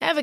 Ever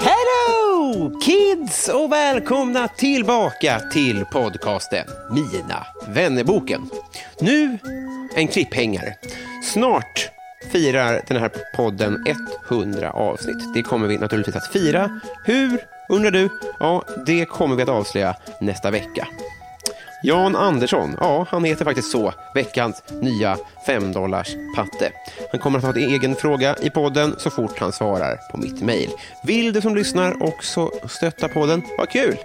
Hello kids och välkomna tillbaka till podcasten Mina vännerboken. Nu en klipphängare. Snart firar den här podden 100 avsnitt. Det kommer vi naturligtvis att fira. Hur undrar du? Ja, det kommer vi att avslöja nästa vecka. Jan Andersson, ja, han heter faktiskt så, veckans nya 5-dollars patte. Han kommer att ha en egen fråga i podden så fort han svarar på mitt mejl. Vill du som lyssnar också stötta podden? Vad kul!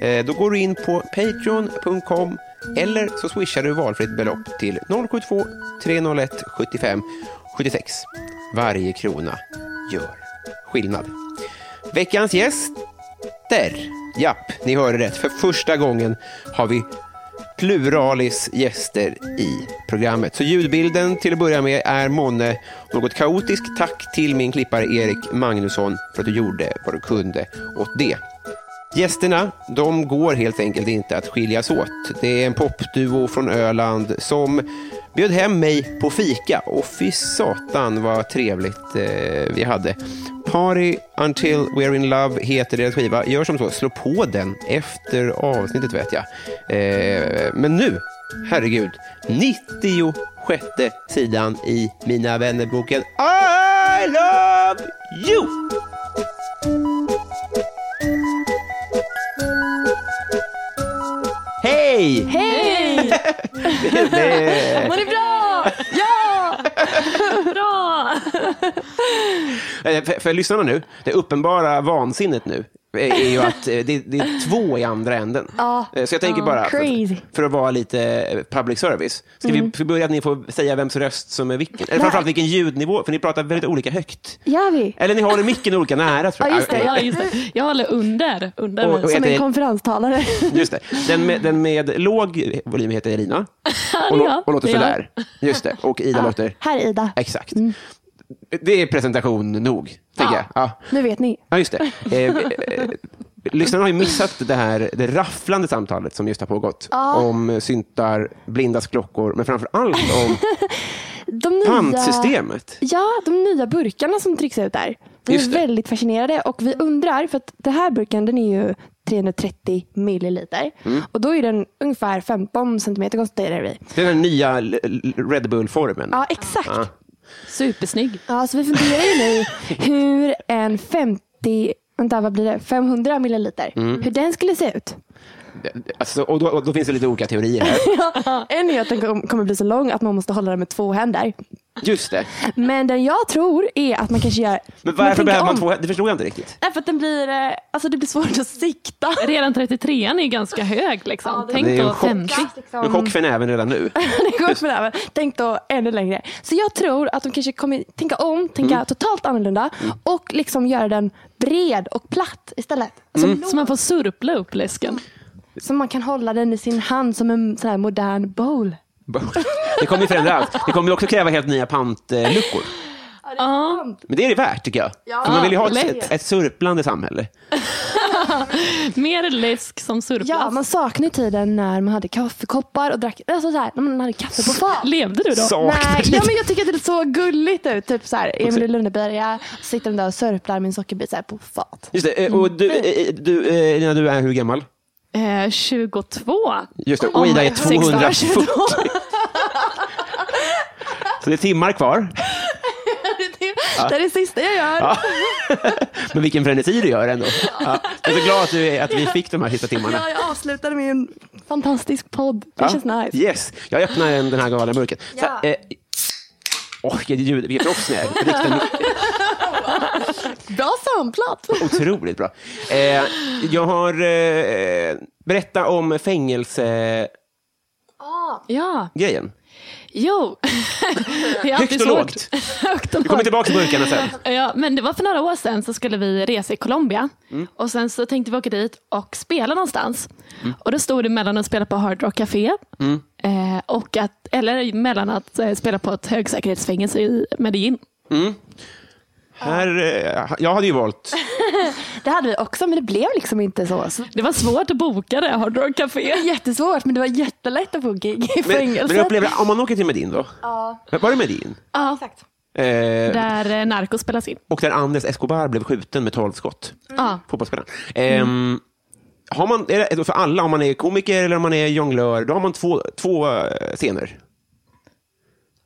Eh, Då går du in på patreon.com eller så swishar du valfritt belopp till 072 301 75 76. Varje krona gör skillnad. Veckans gäst gäster. Japp, ni hörde rätt. För första gången har vi pluralis gäster i programmet. Så ljudbilden till att börja med är månne något kaotisk. Tack till min klippare Erik Magnusson för att du gjorde vad du kunde åt det. Gästerna, de går helt enkelt inte att skiljas åt. Det är en popduo från Öland som bjöd hem mig på fika och fy satan vad trevligt eh, vi hade. Party Until We're In Love heter deras skiva. Gör som så, slå på den efter avsnittet vet jag. Eh, men nu, herregud, 96 sidan i Mina vännerboken I love you! Hej! Hej! Det- Mår ni bra? Ja! Bra! Eh, För, för lyssnarna nu, det uppenbara vansinnet nu eh, är ju att eh, det, det är två i andra änden. Ja. Eh, Så jag tänker Ja, bara, för, crazy. Mm. för att vara lite eh, public service, ska vi ska vi börja att ni får säga vems röst som är vilken? Eller framförallt vilken ljudnivå, för ni pratar väldigt olika högt. Gör vi? Eller ni håller micken olika nära tror jag. Ja, just det. Eh, Ja, just det. Jag håller under. under Och- och mig. jag- Som heter- en konferenstalare. Just det. Den, med, den med låg volym heter Elina och, lå- det jag. och låter Det är jag. sådär. Just det. Och Ida låter... Här Ida, Exakt. Det är presentation nog, tänker Mm. Ja. jag. Ja. nu vet ni. Ja, just det. Eh, eh, lyssnarna har ju missat det här det rafflande samtalet som just har pågått. Om syntar, blindas klockor, men framför allt om De nya, pantsystemet. Ja, de nya burkarna som trycks ut där. Vi Just är det. väldigt fascinerade och vi undrar, för att den här burken den är ju 330 milliliter Mm. och då är den ungefär 15 centimeter konstaterar vi. Det är Den här nya L- L- Red Bull-formen. Ja, exakt. Ah. Ja. Supersnygg. så vi funderar ju nu hur en 50, vänta vad blir det, 500 milliliter, Mm. hur den skulle se ut. Alltså, och, då, och då finns det lite olika teorier här. En är att den kom- kommer bli så lång att man måste hålla den med två händer. Just det. Men den jag tror är att man kanske gör... Men varför tänker behöver man om. två Det förstår jag inte riktigt. Nej, för att den blir, eh, alltså det blir svårt att sikta. Redan 33an är ganska hög. Liksom. Ja, det- Tänk Det är en då chock. 50. En chock för näven redan nu. Det går upp med det här, men Tänk då ännu längre. Så jag tror att de kanske kommer tänka om, tänka Mm. totalt annorlunda och liksom göra den bred och platt istället. Alltså, Mm. låg, Så man får surpla upp läsken. Så man kan hålla den i sin hand som en sån här modern bowl. Det kommer ju förändra allt. Det kommer ju också kräva helt nya pantluckor. Ja, Men det är det värt, tycker jag. För man vill ju ha ett, lätt. ett, ett surplande samhälle. mer läsk som surplas. Ja, man saknar ju tiden när man hade kaffekoppar och drack, alltså så här, när man hade kaffe på fat. Levde du då? Saknar Nej, lite. ja, men jag tycker att det är så gulligt ut. Typ så här, Emil i Lönneberga sitter de där och sörplar med en sockerbit så här på fat. Just det. eh, Och du, Mm. eh, eh, du, eh, Elina, du är hur gammal? Eh, 22. Just det, och Ida är my God. 240. Det är timmar kvar. Det, det är det sista jag gör. Ja. Men vilken frenesi du gör ändå. Ja. Jag är så glad att, du är, att vi fick de här sista timmarna. Ja, jag avslutade med en fantastisk podd. Det Ja. känns nice. Yes, jag öppnar den den här galna burken. Ja. Så, eh, Åh, vilket ljud, vilket proffs ni är. Riktigt Bra samplat. otroligt bra. Eh, jag har... Eh, berätta om fängelsegrejen. Ja, jo. Det är Högt alltid och svårt. lågt. Högt och Vi kommer lågt. tillbaka till burkarna sen. Ja, men det var för några år sedan så skulle vi resa i Colombia och sen så tänkte vi åka dit och spela någonstans. Och då stod det mellan att spela på Hard Rock Café eh, och att, eller mellan att eh, spela på ett högsäkerhetsfängelse i Medellin. Här, eh, jag hade ju valt... Det hade vi också, men det blev liksom inte så. så Det var svårt att boka det, Hard Rock Café. jättesvårt, men det var jättelätt att få gig i Men, men fängelset. jag upplever, om man åker till Medin då? Var det Medin? Ja, Eh, där eh, Narcos spelas in. och där Anders Escobar blev skjuten med 12 skott. Mm. Ja. Fotbollsspelaren. Ehm, har man, är det för alla, om man är komiker eller om man är jonglör, då har man två, två eh, scener.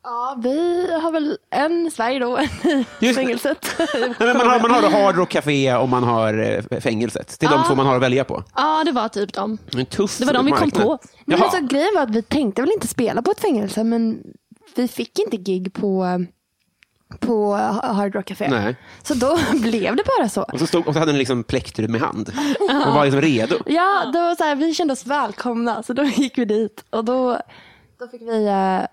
Ja, vi har väl en i Sverige då, en i Just- fängelset. Nej, men man, har, man har Hard Rock Café och man har eh, fängelset. Det är de två man har att välja på. Ja, det var typ dem. Det är en tuff Det var de vi kom marknad. på. Men Jaha. alltså, grejen var att vi tänkte väl inte spela på ett fängelse, men vi fick inte gig på, på Hard Rock Café. Nej. Så då blev det bara så. Och så, stod, och så hade den liksom plektrum i hand och var liksom redo. Ja, det var så här, vi kände oss välkomna så då gick vi dit och då, då fick vi eh,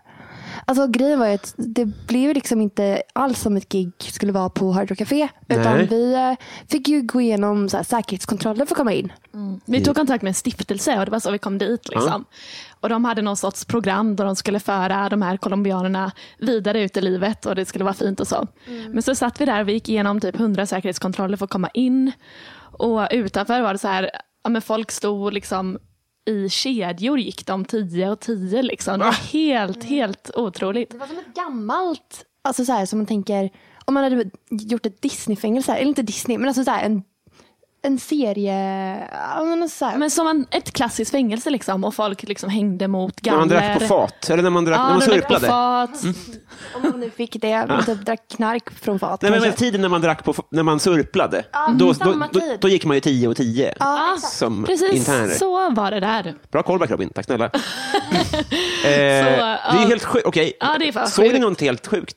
Alltså grejen var ju att det blev liksom inte alls som ett gig skulle vara på Hard Rock Café. Utan Nej. vi eh, fick ju gå igenom så här, säkerhetskontroller för att komma in. Mm. Vi tog kontakt med en stiftelse och det var så vi kom dit. Liksom. Och De hade någon sorts program där de skulle föra de här colombianerna vidare ut i livet och det skulle vara fint och så. Men så satt vi där och vi gick igenom typ 100 säkerhetskontroller för att komma in. Och utanför var det så här, ja, men folk stod liksom i kedjor gick de 10 och 10 liksom. Det var helt, helt otroligt. Det var som ett gammalt, alltså så här som man tänker, om man hade gjort ett Disney-fängelse, eller inte Disney, men alltså så här en, en serie, ja, men alltså så här, Men som en, ett klassiskt fängelse liksom och folk liksom hängde mot När galler. man drack på fat, eller när man, drack, Ja, när man de drack på sörplade. fat. om man nu fick det, man typ drack knark från fat. Ah. Nej, men kanske. med tiden när man drack på, när man sörplade, då, då, samma då, tid. då gick man ju 10 och 10 Ja, som Precis, interner. så var det där. Bra koll back Robin, tack snälla. eh, det är ju helt sjukt. Okej, Ja, det är fan såg ni sjukt. något helt sjukt?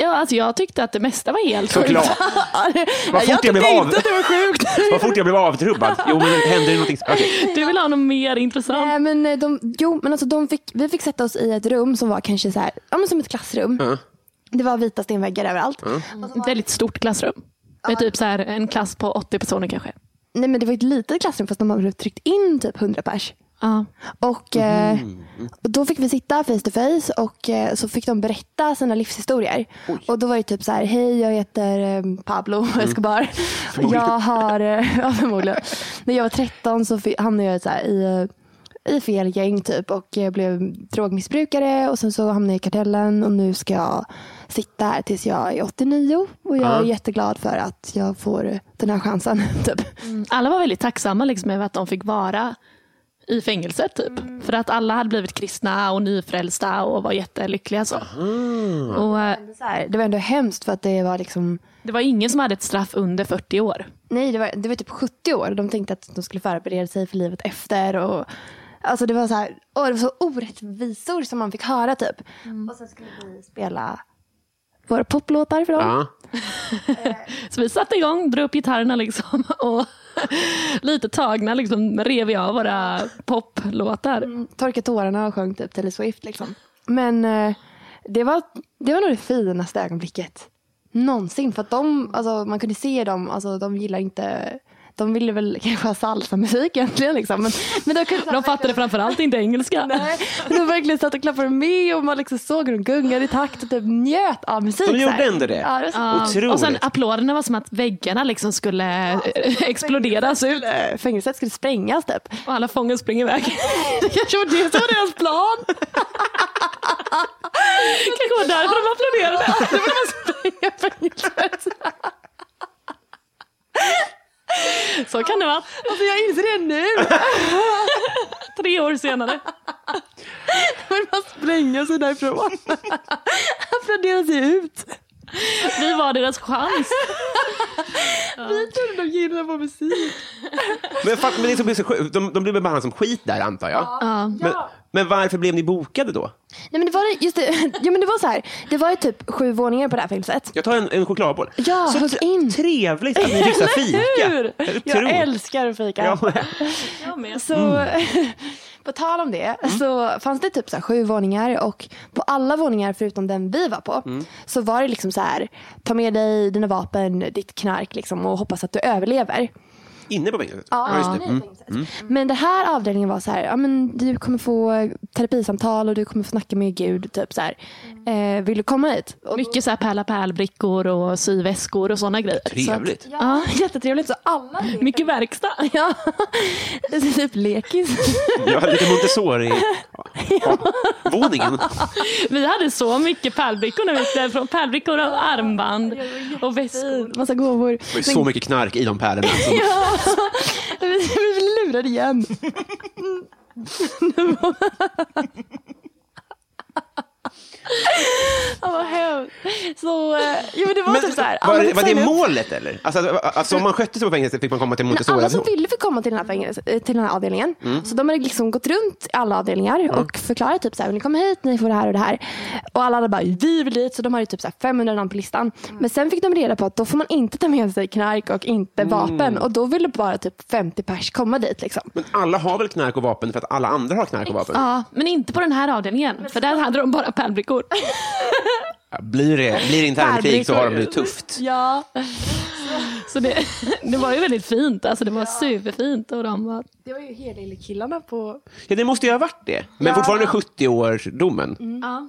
Ja, alltså jag tyckte att det mesta var helt sjukt. Såklart. Vad fort jag blev av. Vad fort jag blev avtrubbad. Jo, men det hände ju någonting. Okej. Du vill ha något mer intressant? Nej, men eh, de, jo, men alltså de fick, vi fick sätta oss i ett rum som var kanske så här, ja, men som ett klassrum. Ah. Det var vita stenväggar överallt. Ett väldigt stort klassrum. Med typ så här en klass på 80 personer kanske. Nej, men det var ett litet klassrum fast de hade tryckt in typ 100 pers. Ja. Och, eh, och då fick vi sitta face to face och eh, så fick de berätta sina livshistorier. Och då var det typ så här, hej jag heter eh, Pablo Escobar. Jag har, eh, ja förmodligen. När jag var 13 så fi- hamnade jag så här, i, eh, i fel gäng typ och eh, blev drogmissbrukare och sen så hamnade jag i kartellen och nu ska jag sitta här tills jag är 89 och jag är jätteglad för att jag får den här chansen. Typ. Alla var väldigt tacksamma liksom över att de fick vara i fängelset. Typ. För att alla hade blivit kristna och nyfrälsta och var jättelyckliga. Så. Och, eh, Så här, det var ändå hemskt för att det var liksom det var ingen som hade ett straff under 40 år. Nej, det var, det var typ 70 år. De tänkte att de skulle förbereda sig för livet efter. Och, alltså det var så här, åh, det var så orättvisor som man fick höra typ. Och sen skulle vi spela våra poplåtar för dem. Ja. Så vi satte igång, drog upp gitarrerna liksom, och lite tagna liksom, rev vi av våra poplåtar. Torka tårarna och sjöng typ Taylor Swift liksom. Men eh, det var, det var nog det finaste ögonblicket någonsin. För att de, alltså, man kunde se dem, alltså, de gillar inte de ville väl kanske ha salsamusik egentligen. Liksom. Men, men de, kunde, De fattade framförallt inte engelska. Nej, men de verkligen satt och klappade med och man liksom såg hur de gungade i takt och typ njöt av musik. De gjorde så här. ändå det? Ja, det var så Ja, Otroligt. Och sen applåderna var som att väggarna liksom skulle exploderas ut Eh, Fängelset skulle sprängas typ. och alla fångar springer iväg. Det kanske var det som var deras plan. kanske var därför de applåderade. Det var de spränga fängelset. Så kan det vara. Alltså jag inser det nu. Tre år senare. Man spränga sig därifrån. applåderade sig ut. Vi var deras chans. Vi trodde de gillade vår musik. Men, fuck, men det som blev så sjukt, de, de blev behandlade som skit där antar jag. Ja. Men, men varför blev ni bokade då? Nej men det var just det, jo, men det var så här. Det var ju typ sju våningar på det här filmhuset. Jag tar en, en chokladboll. Ja, så hugg tre- in. trevligt att ni fick så här fika. Hur? tror. Jag älskar att fika. Ja, Jag med. Så Mm. på tal om det så fanns det typ så här sju våningar och på alla våningar förutom den vi var på Mm. så var det liksom så här ta med dig dina vapen, ditt knark liksom och hoppas att du överlever. inne på fängelset. Ja, det. Mm. nej, på inget sätt. Men det här avdelningen var så här, ja, men du kommer få terapisamtal och du kommer få snacka med Gud. Typ så här. Eh, vill du komma hit? Och Mm. Mycket så här pärla pärlbrickor och syväskor och sådana grejer. Trevligt. Ja, jättetrevligt. Så alla Så att- mycket verkstad. Ja, typ lekis. Jag hade lite Montessori-våningen. Vi hade så mycket pärlbrickor när vi gick därifrån. Pärlbrickor och armband och väskor. Massa gåvor. Det var så mycket knark i de pärlorna. som- Ja, vi vi blev lurade igen. Ja, vad hemskt. Så, eh, jo, men det var Men, typ så här. alla var, fick var det signa upp. målet eller? Alltså, att- alltså om man skötte sig på fängelset fick man komma till Men alla som Montessori. ville fick komma till den här, fängelse, eh, till den här avdelningen. Mm. Så de hade liksom gått runt i alla avdelningar och förklarat typ så här, "Vill ni kommer hit, ni får det här och det här. Och alla hade bara, vi vill dit. Så de hade typ så här 500 namn på listan. Men sen fick de reda på att då får man inte ta med sig knark och inte Mm. vapen. Och då ville bara typ 50 pers komma dit. Liksom. Men alla har väl knark och vapen för att alla andra har knark och vapen? Ja, men inte på den här avdelningen. För där hade de bara pärlbrickor. Ja, Blir det, blir det internkrig så har de det tufft. Ja. Så det, det var ju väldigt fint. Alltså det var superfint. Och de var, Det var ju hela killarna på... Ja, det måste ju ha varit det. Men fortfarande 70-årsdomen. Mm. ja.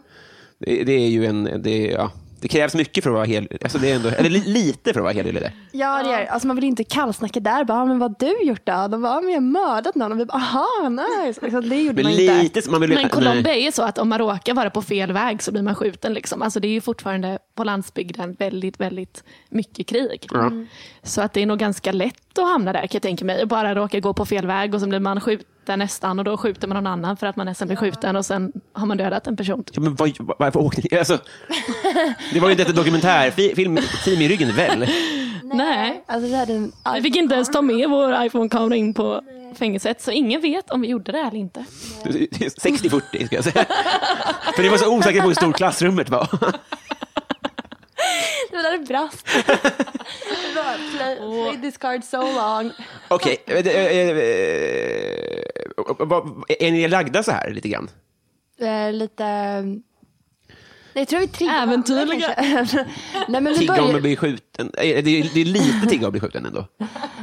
Det, det är ju en... Det, ja, det krävs mycket för att vara hel... Alltså det är ändå, eller li, lite för att vara helig i det. Ja, det är, alltså man vill inte kallsnacka där. Bara, "Ah, men vad har du gjort då? De bara, "Ah, men jag har mördat någon. Och vi bara, aha, nice. Liksom, det gjorde Men man inte. lite... så- Man vill, Men Colombia nej. är ju så att om man råkar vara på fel väg så blir man skjuten. Liksom. Alltså det är ju fortfarande på landsbygden väldigt, väldigt mycket krig. Så att det är nog ganska lätt att hamna där kan jag tänka mig. Och bara råka gå på fel väg och så blir man skjuten nästan och då skjuter man någon annan för att man nästan blir skjuten och sen har man dödat en person. Ja, men vad, varför åkte ni? Alltså, det var ju inte ett dokumentärfilm-team i ryggen väl? Nej. Alltså, vi hade en Vi fick inte ens ta med vår iPhone-kamera in på fängelset så ingen vet om vi gjorde det eller inte. 60-40 ska jag säga. För det var så osäkert på hur stort klassrummet var. Det där brast. play, play this card so long. Okej, eh, eh, eh, eh, vad- är ni lagda så här lite grann? Eh, lite... Nej, jag tror vi triggar Äventyrliga. varandra kanske. nej, men vi Tigga om börjar... att bli skjuten? Eh, Det är, det är lite tigga om att bli skjuten ändå.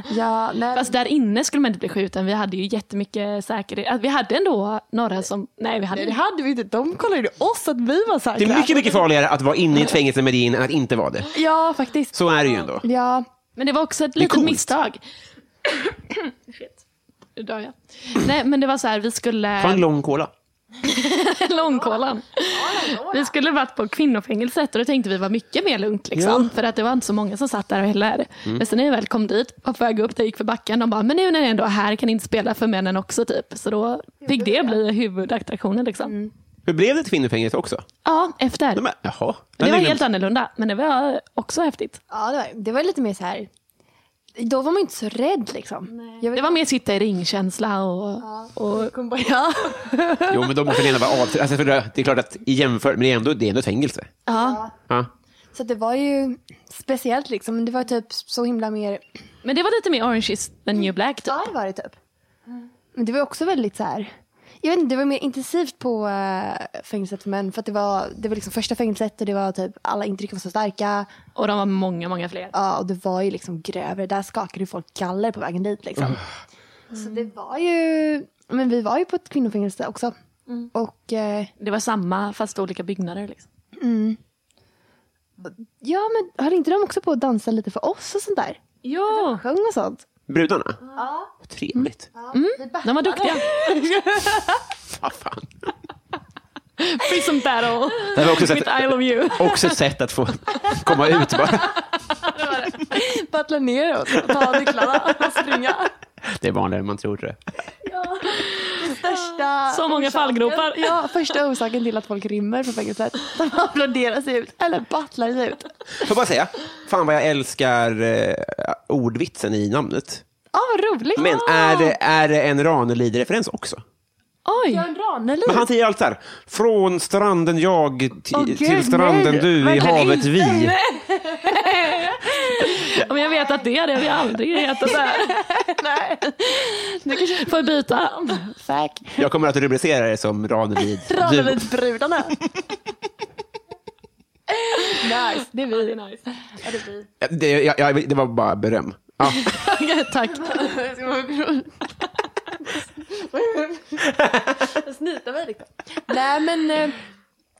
Ja, nej. Fast Alltså, där inne skulle man inte bli skjuten. Vi hade ju jättemycket säkerhet. Alltså, Vi hade ändå några som... Nej, vi hade det hade vi inte. De kollade oss att vi var säkra. Det är mycket, mycket farligare att vara inne i ett fängelse med din än att inte vara det. Ja, faktiskt. Så är det ju ändå. Ja. Men det var också ett är litet coolt. misstag. Shit. Nu dör jag. Nej, men det var så här, vi skulle... Ta en lång cola. Långkolan. Vi skulle varit på kvinnofängelset och då tänkte vi var mycket mer lugnt. Liksom, För att det var inte så många som satt där heller. Men sen när vi väl kom dit, var på väg upp, där gick för backen. De bara, men nu när ni ändå är här kan ni inte spela för männen också. typ. Så då fick det bli huvudattraktionen. Liksom. Mm. Hur blev det till kvinnofängelse också? Ja, efter. De är, jaha. Men liksom- det var Jag helt glömde. annorlunda, men det var också häftigt. ja det, var, det var lite mer så här... Då var man inte så rädd liksom. Jag vet- Det var mer sitta i ringkänsla och, och Kom bara, ja. Jo, men de måste ändå vara avtryck. Alltså, för det det är klart att i jämför, men det är ändå, det är ändå ett fängelse. ja. Ja. Så det var ju speciellt liksom. Men det var typ så himla mer... Men det var lite mer Orange is the new black. Typ. Ja, det var det typ. Men det var också väldigt så här... Jag vet inte, det var mer intensivt på eh, fängelset för män. För att det var, det var liksom första fängelset och det var typ alla intryck var så starka. Och de var många, många fler. Ja, och det var ju liksom grövre. Där skakade ju folk galler på vägen dit liksom. Så det var ju... Men vi var ju på ett kvinnofängelse också. Och eh, Det var samma fast olika byggnader. Liksom. ja, men höll inte de också på att dansa lite för oss och sånt där? Jo, Sjöng och sånt. Brudarna? Ja. Trevligt. de var duktiga. Ah, fan. Prison battle Det var också ett, with I love you. också ett sätt att få komma ut bara. Battla neråt och ta nycklarna och springa. Det är vanligare än man tror. Tror jag. Största första Så många fallgropar. Ja, första orsaken till att folk rymmer från fängelset. De applåderar sig ut, eller battlar sig ut. Får bara säga, fan vad jag älskar eh, ordvitsen i namnet. Ja, vad roligt. Men är det, är det en Ranelid-referens också? Oj, Björn Ranelid. Men han säger allt så här, från stranden jag till, Åh, gud, till stranden nej. du i Verkligen havet inte. vi. om jag vetat det hade jag aldrig hetat det här. Får jag byta? Fuck. Jag kommer att rubricera det som Ranelid. Du, Ranelid-brudarna. nice, det är vi. nice. det, jag, jag, det var bara beröm. Ja. Tack. Snyta mig lite. Nej men, eh,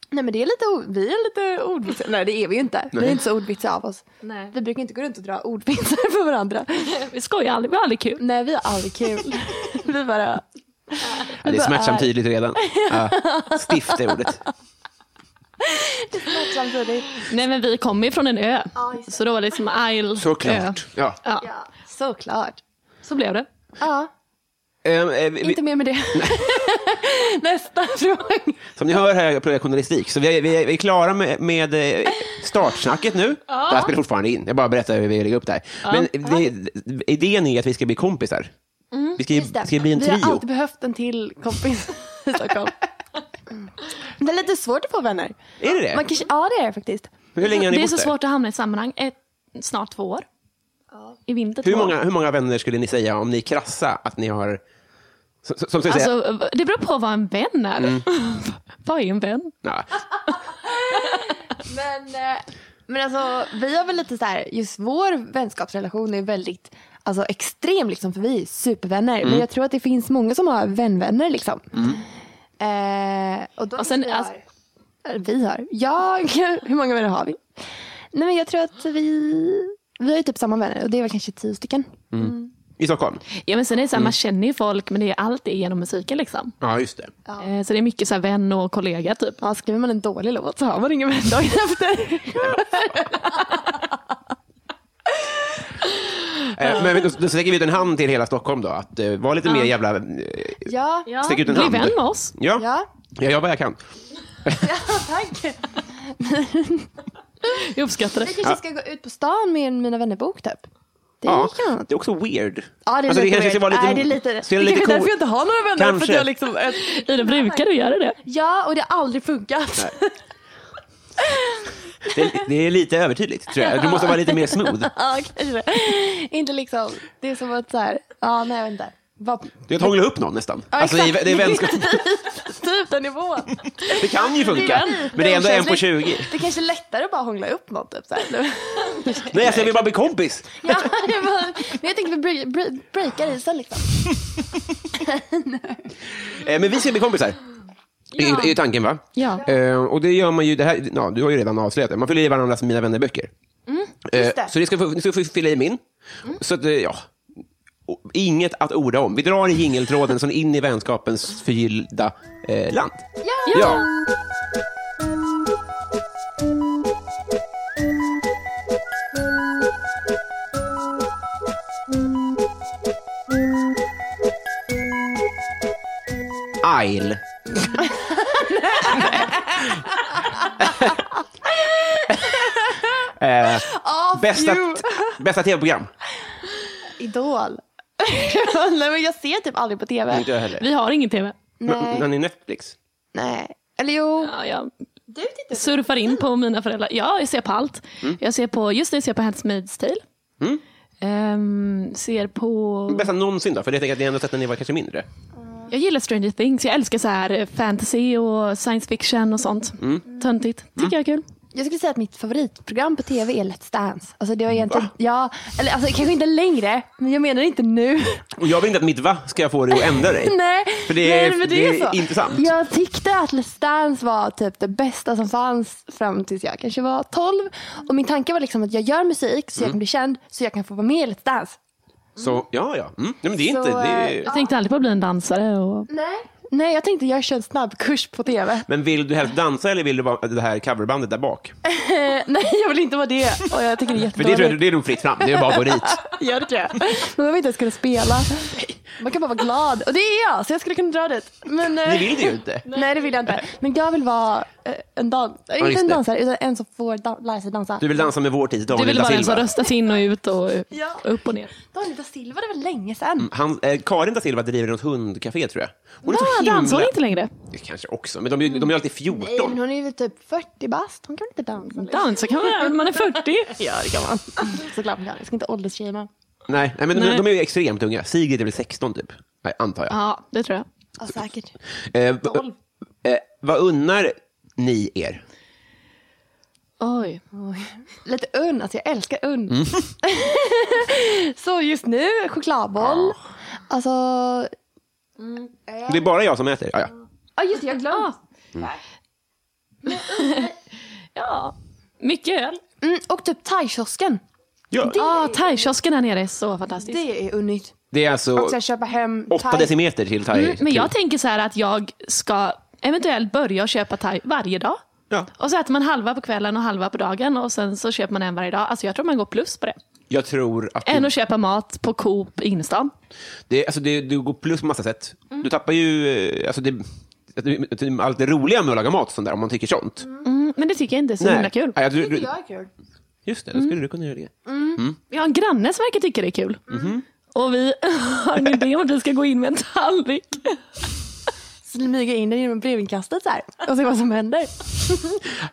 nej men det är lite, o- vi är lite ordvitsiga. Nej det är vi ju inte. Vi är inte så ordvitsiga av oss. Nej. Vi brukar inte gå runt och dra ordvitsar för varandra. Vi skojar aldrig, vi har aldrig kul. Nej vi har aldrig kul. vi bara, Ja, det är bara smärtsamt är- tydligt redan. Ja. Stift är ordet. samtidigt. Nej men vi kommer ju från en ö. Så då var det liksom Isle Ö. Såklart. Ja. Ja, Såklart. så blev det. Ja, Ehm, eh, vi- inte mer med det. Nästa fråga. Som ni hör här på journalistik, så vi är, vi är, vi är klara med, med eh, startsnacket nu. Det här spelar fortfarande in, jag bara berättar hur vi lägger upp det här. Men det, idén är att vi ska bli kompisar. vi ska, ju- ska bli en vi har trio. alltid behövt en till kompis i Stockholm. Mm. Det är lite svårt att få vänner. Är det det? Man kanske, ja det är det faktiskt. Hur länge har ni Det är bott så där? svårt att hamna i ett sammanhang. Ett, snart två år. I vinter Hur två år. många, hur många vänner skulle ni säga om ni är krassa att ni har... Som, som, som säga, Alltså, det beror på vad en vän är. Mm. vad är en vän? nej. Men, eh, men alltså, vi har väl lite så här, just vår vänskapsrelation är väldigt alltså, extrem liksom, för vi är supervänner. Men jag tror att det finns många som har vänvänner liksom. Eh, och då Och sen, vi, har, alltså- Eller vi har, ja, hur många vänner har vi? Nej men jag tror att vi, vi har ju typ samma vänner och det är väl kanske tio stycken. I Stockholm? Ja, men sen är det så här, Mm. Man känner ju folk, men det är allt det är genom musiken. Liksom. Ja, just det. Eh, Så det är mycket så här, vän och kollega. Typ. Ja, skriver man en dålig låt så har man ingen vän dagen efter. Eh, men då, då sträcker vi ut en hand till hela Stockholm då, att eh, vara lite mer jävla... Eh, Ja, ja, Ja, Stick ut en bli hand. vän med oss. ja. ja. jag gör vad jag kan. tack. Jag uppskattar det. Vi kanske ska gå ut på stan med Mina vännerbok typ. Det Ja, kan det är också weird. Ja, det är Alltså, lite kanske ska weird. vara lite- Nej, det är lite... ska det vara lite kanske är cool- därför jag inte har några vänner. För Kanske. att jag liksom... Ida, brukar du göra det? Ja, och det har aldrig funkat. Det, det är lite övertydligt, tror jag. Du måste vara lite mer smooth. Ja, kanske det. Inte liksom... Det är som att så här... Ja, nej, jag vet inte. Vad- Du kan hångla upp någon nästan. Ja, alltså, i, exakt. det, är vänskap, typ den nivån. det kan ju funka, men det är ändå en på 20. Det är kanske är lättare att bara hångla upp något. Typ, så här. Nej, alltså, jag vill bara bli kompis. ja, det var... Men jag tänkte vi bre- bre- breakar isen liksom. Eh, Men vi ska bli kompisar. Är, är tanken, va? Ja. Eh, och det gör man ju, det här, ja, du har ju redan avslöjat det, man fyller i varandras Mina vännerböcker. Eh, just det. så ni ska, få, ni ska få fylla i min. Så att, eh, ja, O- inget att orda om. Vi drar i jingeltråden så in i vänskapens förgyllda eh, land. Ja! Isle. eh, bästa bästa tv-program. Idol. nej, men jag ser typ aldrig på tv. Inte jag heller. Vi har ingen tv. Nej. Han är Netflix. nej. Eller jo. Ja, jag Du tittar surfar in på mina föräldrar. Ja, jag ser på allt. Jag ser på, just nu ser jag på Handmaid's Tale. Mm. Ehm, ser på... Bästa någonsin då? För jag tänker att ni ändå sett när ni var kanske mindre. Jag gillar Stranger Things. Jag älskar så här eh, fantasy och science fiction och sånt. Töntigt. Tycker jag är kul. Jag skulle säga att mitt favoritprogram på tv är Let's Dance. Alltså det var egentligen, ja, eller alltså kanske inte längre, men jag menar inte nu. Och jag vill inte att mitt va ska jag få dig att ändra dig. Nej, För det är- nej, men det är så. intressant. Jag tyckte att Let's Dance var typ det bästa som fanns fram tills jag kanske var 12. Och min tanke var liksom att jag gör musik så jag Mm. kan bli känd så jag kan få vara med i Let's Dance. Så, ja, ja. Mm. Nej, men det är inte... Så, Det är... Jag tänkte aldrig på att bli en dansare. Och... Nej. Nej, jag tänkte jag kör en snabbkurs på tv. Men vill du helst dansa eller vill du vara det här coverbandet där bak? Eh, nej, jag vill inte vara det. Och jag tycker det är För det, jättedåligt. tror jag, det är nog fritt fram, det är bara att gå dit. Ja, det tror jag. Men jag vet inte ens kunna spela. Man kan bara vara glad. Och det är jag, så jag skulle kunna dra dit. Men, eh, Ni vill det ju inte. Nej, det vill jag inte. Men jag vill vara eh, en dans... eh, inte just en det. dansare, utan en som får dan- lära sig dansa. Du vill dansa med vår tids Du Daniel vill da vara en som Silva. röstas in och ut och Ja. upp och ner. Daniel da Silva, det var länge sedan. Han, eh, Karin da Silva driver något hundcafé tror jag. Hon är så Ah, himla... dansar hon inte längre? Det kanske också, men de, är ju- de är ju alltid Nej, men 14. hon är ju typ 40 bast. Hon kan väl inte dansa? nu? Dansa kan man göra när man är 40. Ja, det kan man. Såklart man kan. Jag ska inte åldersshamea. Nej, nej, men de, Nej. de är ju extremt unga. Sigrid är väl 16 typ, nej, antar jag. Ja, det tror jag. Ja, säkert. Eh, v- eh, vad unnar ni er? Oj. Lite unn, alltså jag älskar unn. Mm. så just nu, chokladboll. Alltså, Det är bara jag som äter. Ja, ja. ja just det, jag glömde. Ja. Mycket öl. Mm, och typ thaikiosken. Ja. Ja, ah, thaikiosken här nere är så fantastisk. Det är unnigt. Det är Och alltså sen köpa hem 8 thai. decimeter till thai. Mm, men jag tänker så här att jag ska eventuellt börja köpa thai varje dag. Ja. Och så äter man halva på kvällen och halva på dagen och sen så köper man en varje dag. Alltså jag tror man går plus på det. jag tror att Än du, att köpa mat på Coop i innerstan. det, alltså det, du går plus på massa sätt. Mm. Du tappar ju eh, alltså det, att du- att du- allt det roliga med att laga mat och sånt där, om man tycker sånt. Mm, men det tycker jag inte är så himla kul. Mm. Nej, jag, du, du, Jag är kul. just det, då skulle du kunna göra det. Vi har en granne som verkar tycka det är kul. Mm-hmm. Och vi har en idé om att vi ska gå in med en tallrik. Smyga in den genom brevinkastet så här. Och se vad som händer.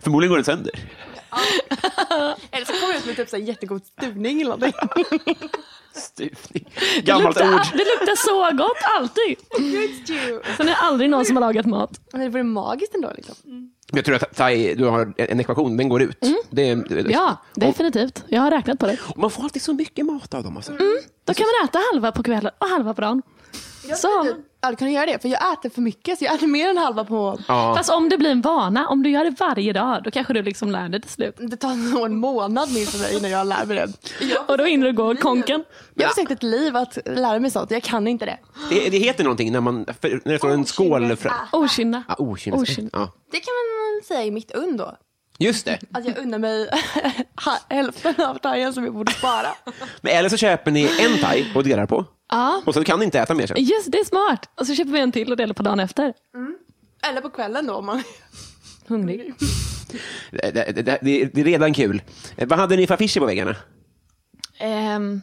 Förmodligen går den sönder. Eller så kommer jag ut med typ så här jättegod stuvning eller någonting. Stuvning. Det Gammalt luktar, ord. det luktar så gott alltid. Sen är det aldrig någon som har lagat mat. Men det vore magiskt ändå liksom. Jag tror att thai, du har en ekvation, den går ut. Det, är- Mm. Ja, definitivt. Jag har räknat på det. Och man får alltid så mycket mat av dem. Alltså. Då kan man äta halva på kvällen och halva på dagen. Så, Ja, du kan göra det. För jag äter för mycket, så jag äter mer än halva på... Ja. fast om det blir en vana, om du gör det varje dag, då kanske du liksom lär dig till slut. Det tar nog en månad minst för mig innan jag lär mig det. Och då hinner du gå konken. Jag har försökt ett liv att lära mig sånt. Jag kan inte det. Det, det heter någonting när, man, för, när det står en skål fram. Ah. Okynne. Ja, okynnes- Okynne. ja. Äh, Det kan man säga i mitt und då. Just det. Att jag unnar mig ha- hälften av tajen som jag borde spara. Men eller så köper ni en thai och delar på. Ja, Och sen kan ni inte äta mer sen. just det är smart. Och så köper vi en till och delar på dagen efter. Eller på kvällen då om man... Hungrig. Det, det, det, det är redan kul. Eh, Vad hade ni för affischer på väggarna? Ehm,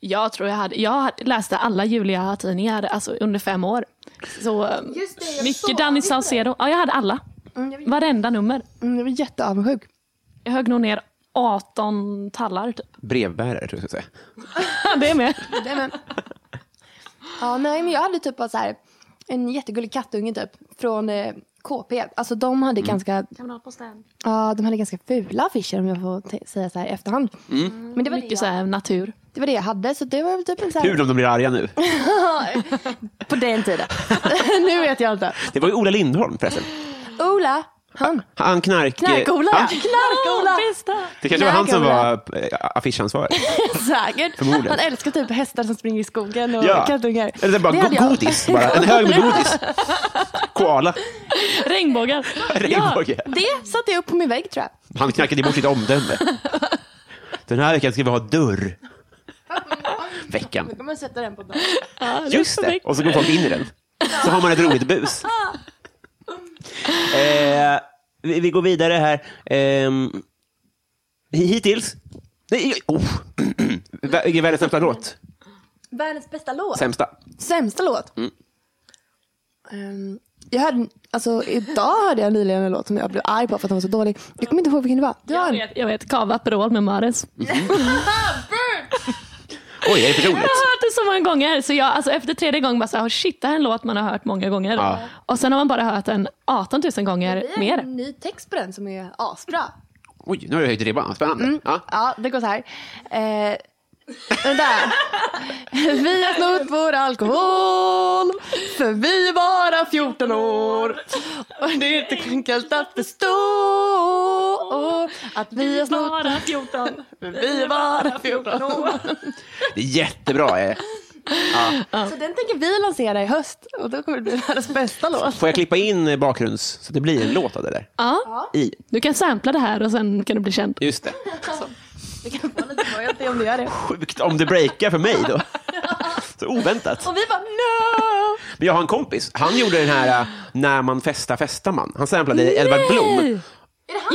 jag tror jag hade, jag läste alla Julia-tidningar alltså under fem år. Så ehm, Just det, jag såg mycket Danny Saucedo. Ja, jag hade alla. Varenda nummer. Mm, jag var jätteavundsjuk. Jag högg nog ner 18 tallar typ. Brevbärare, tror jag jag ska säga. det är med. Nej, men... Ja, nej, men jag hade typ bara så här, en jättegullig kattunge typ, från eh, KP. Alltså de hade Mm. ganska... Ja, de hade ganska fula affischer om jag får t- säga så här i efterhand. Mm. Men det var det, Mycket så här natur. jag- det var det jag hade, så det var väl typ en så här... Kul om de blir arga nu. På den tiden. nu vet jag inte. Det var ju Ola Lindholm förresten. Ola, han. Han knark... Knark-Ola! Ja, Knark-Ola! Bästa. det kanske var han som Knark-Ola. var eh, affischansvarig. Säkert. Förmodligen. Han älskar typ hästar som springer i skogen och Ja. kattungar. Eller det bara hade go- jag. godis. Bara. En hög med godis. Koala. Regnbågar. Regnbåge. Det satte jag upp på min vägg tror jag. Han knackade bort sitt omdöme. Den här veckan ska vi ha dörr. Veckan. Då kan man sätta den på dagen. Ja, är Just det. perfekt. Och så går folk in i den. Så har man ett roligt bus. Eh, vi, vi går vidare här. Ehm, hi- hittills. Nej, oh. Vä- Vilken världens sämsta låt? Världens bästa låt. Sämsta. Sämsta låt? Mm. Ehm, jag hörde, alltså, idag hörde jag nyligen en låt som jag blev arg på för att den var så dålig. Jag kommer inte ihåg vilken det var. Det var Jag en, vet, jag vet. Cava Aperol med Mares. Oj, det är personligt. Jag har hört det så många gånger. Så jag, alltså, efter tredje gången bara så här, "Oh, shit, det här är en låt man har hört många gånger. Ja. Och sen har man bara hört den 18 000 gånger det är mer. en ny text på den som är asbra. Oj, nu har jag höjt ribban. Spännande. Ja. Ja, det går så här. Eh, vänta. vi har snott vår alkohol för vi är bara 14 år. Och det är inte enkelt att förstå att vi har snott Bara 14. för vi är bara 14 år. Det är jättebra. eh. Så den tänker vi lansera i höst och då kommer det bli världens bästa låt. Får jag klippa in eh, bakgrunds... Så det blir en låt av det där. Ja. I. Du kan sampla det här och sen kan du bli känd. Just det. Vi kan få lite royalty om du gör det. Sjukt om det breakar för mig då. Så oväntat. Och vi bara no! Men jag har en kompis. Han gjorde den här äh, När man festar festar man. Han samplade Edvard Blom.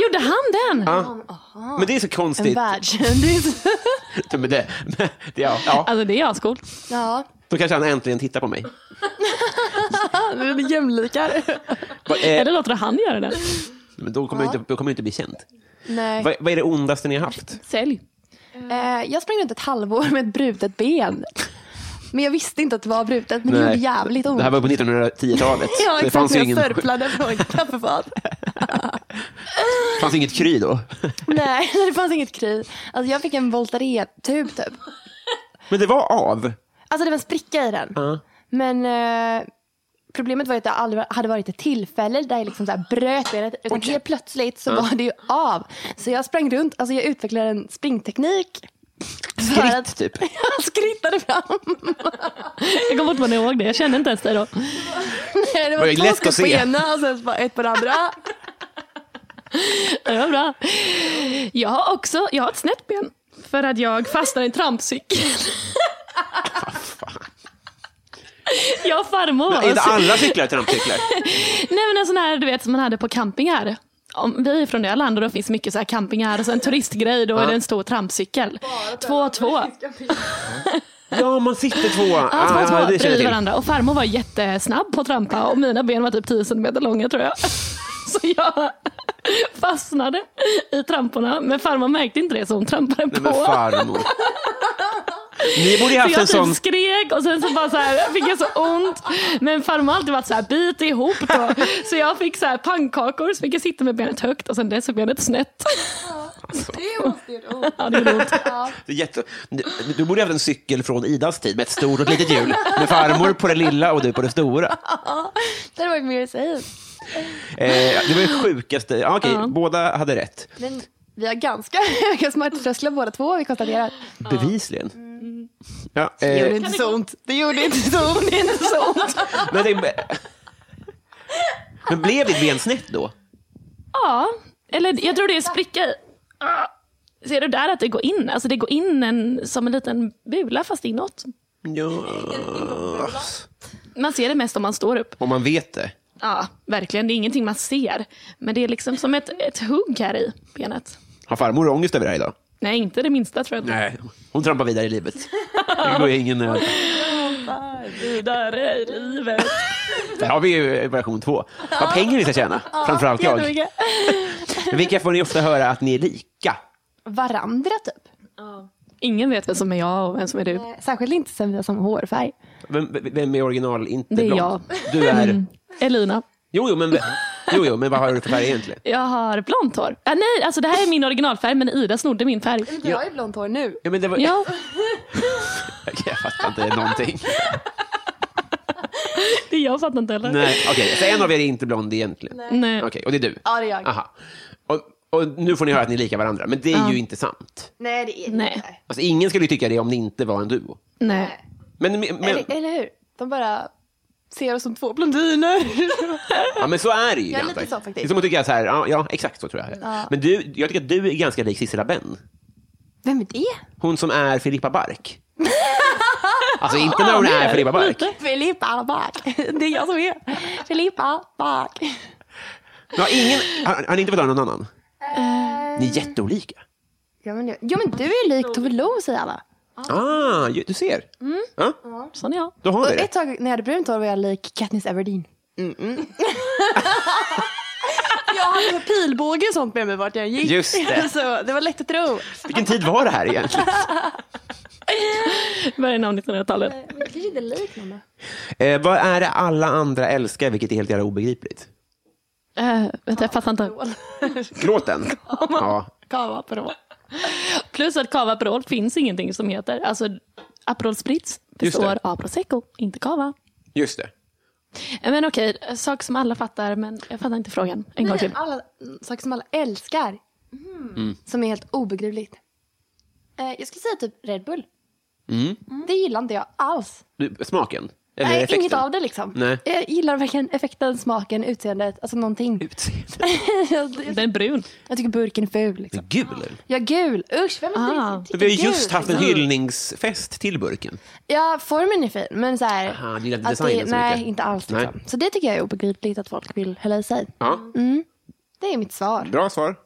Gjorde han den? Ja. Men det är så En konstigt. världskändis. Men det, men det, ja, ja. Alltså det är ascoolt. ja, Då kanske han äntligen tittar på mig. nu är det jämlikar. Va, eh, Eller låter du han göra det? men då kommer jag inte, då kommer jag inte bli känd. Nej. Vad, vad är det ondaste ni har haft? Sälj. Eh, jag sprang runt ett halvår med ett brutet ben. Men jag visste inte att det var brutet, men det Nej. gjorde jävligt ont. Det här var på 1910-talet. Ja, det exakt. fanns när ju Jag ingen, sörplade från ett kaffefat. fanns inget kry då. Nej, det fanns inget kry. Alltså, jag fick en Voltaren-tub typ. Men det var av. Alltså det var en spricka i den. Men eh, problemet var ju att det aldrig hade varit ett tillfälle där jag liksom så här bröt benet. Utan helt plötsligt så var det ju av. Så jag sprang runt, alltså jag utvecklade en springteknik. Skritt typ. Jag skrittade fram. Jag kommer fortfarande ihåg det. Jag kände inte ens dig då. Nej, det Var det lätt var, två att skott på se? ena och sen bara ett på det andra. Det var bra. Jag har också jag har ett snett ben. För att jag fastnade i en trampcykel. Jag och farmor var Är inte så- alla cyklar trampcyklar? Nej men en sån här du vet som man hade på campingar. Om, vi är från Öland och då finns mycket så här campingar och så en turistgrej då är det en stor trampcykel. Två och två. Ja, man sitter två. Ja, två och två ja, det känner bredvid jag till. varandra och farmor var jättesnabb på att trampa och mina ben var typ 10 centimeter långa tror jag. Så jag fastnade i tramporna men farmor märkte inte det så hon trampade Nej, på. men farmor. Ni borde ju Så haft en jag Alltså, sån... typ skrek och sen så bara så här, fick jag så ont. Men farmor har alltid varit så här, bit ihop då. Så jag fick så här pannkakor så fick jag sitta med benet högt och sen dess så benet snett. Ja, det gjorde ont. Det är jätte... Du- Du borde ha haft en cykel från Idas tid med ett stort och ett litet hjul. Med farmor på det lilla och du på det stora. Det hade varit mer att säga. Eh, det var det sjukaste. Ja, Okej, båda hade rätt. Men vi har ganska höga smärttrösklar båda två, vi konstaterar. Bevisligen. Ja, Det gjorde eh, inte så ont. Det gjorde inte så ont. Det är inte så ont. men, det... men blev ditt ben snett då? Ja, eller jag tror det är spricka i. Ah. Ser du där att det går in? Alltså det går in en, som en liten bula fast inåt. Ja. Man ser det mest om man står upp. Om man vet det. Ja, verkligen. Det är ingenting man ser. Men det är liksom som ett, ett hugg här i benet. Har farmor ångest över det här idag? Nej, inte det minsta tror jag. inte. Nej. Hon trampar vidare i livet. Det går ju ingen nöd. Vidare i livet. Där har vi ju version två. Vad pengar vi ska tjäna, framförallt jag. Jättemycket. Vilka får ni ofta höra att ni är lika? Varandra typ. Eh, Ingen vet vem som är jag och vem som är du. Särskilt inte sen vi har samma hårfärg. Vem, vem är original? Inte Det är blond. Du är... Elina. Jo, jo, men, jo, jo, men vad har du för färg egentligen? Jag har blont hår. Ah, nej, alltså det här är min originalfärg men Ida snodde min färg. Du har ju blont hår nu. Ja, men det var... Ja, Jag fattar inte någonting. det jag fattar inte heller. Nej, okej. Så en av er är inte blond egentligen? Nej. Nej. Okej, och det är du? Ja, det är jag. Aha. Och, och nu får ni höra att ni är lika varandra, men det är ju inte sant. Nej, det är det Nej. inte. Alltså, ingen skulle ju tycka det om det inte var en duo. Nej. Men, men, Eller, eller hur? De bara ser oss som två blondiner. ja, men så är det ju. Jag är lite antar så faktiskt. Det är som att tycka så här, ja, ja exakt så tror jag. Men du, jag tycker att du är ganska lik Sissela Benn. Vem är det? Hon som är Filippa Bark. Alltså inte när hon är Filippa Bark. Filippa Bark. Det är jag som är Filippa Bark. Ja, ingen, har, har ni inte fått höra någon annan? Eh. Ni är jätteolika. Ja, men, jo, men du är ju lik Tove Lo säger alla. Ah, ju- du ser. Ja, Sån är jag. då har Mm. Och vi det. ett tag när jag hade brunt hår var jag lik Katniss Everdeen. jag hade pilbåge och sånt med mig vart jag gick. Just det. Så det var lätt att tro. Vilken tid var det här egentligen? Början av 1900-talet. kanske inte lik någon. Eh, vad är det alla andra älskar, vilket är helt jävla obegripligt? Eh, vänta, jag fattar inte. Gråten? Ja. Cava Aperol. Plus att Cava Aperol finns ingenting som heter. Alltså Aperol Spritz Just det. består av prosecco, inte cava. Just det. Eh, Men okej, eh, sak som alla fattar men jag fattar inte frågan. En gång till. Alla mm, saker som alla älskar. Mm. Som är helt obegripligt. Mm. Eh, jag skulle säga typ Red Bull. Det Mm. gillar inte jag alls. Du, smaken? Eller Nej, effekten? inget av det liksom. Nej. Jag gillar verkligen effekten, smaken, utseendet, alltså någonting. Utseendet. jag Den är brun. tycker burken är ful. Liksom. Gul. Ja, gul. Usch, vem Ah. har ah. Vi har ju just haft en hyllningsfest till burken. Ja, formen är fin, men så här, Aha, du gillar inte att designen det, så Nej, mycket. inte alls. Nej. Liksom. Så det tycker jag är obegripligt att folk vill hälla i sig. Ja, Det är mitt svar. bra svar.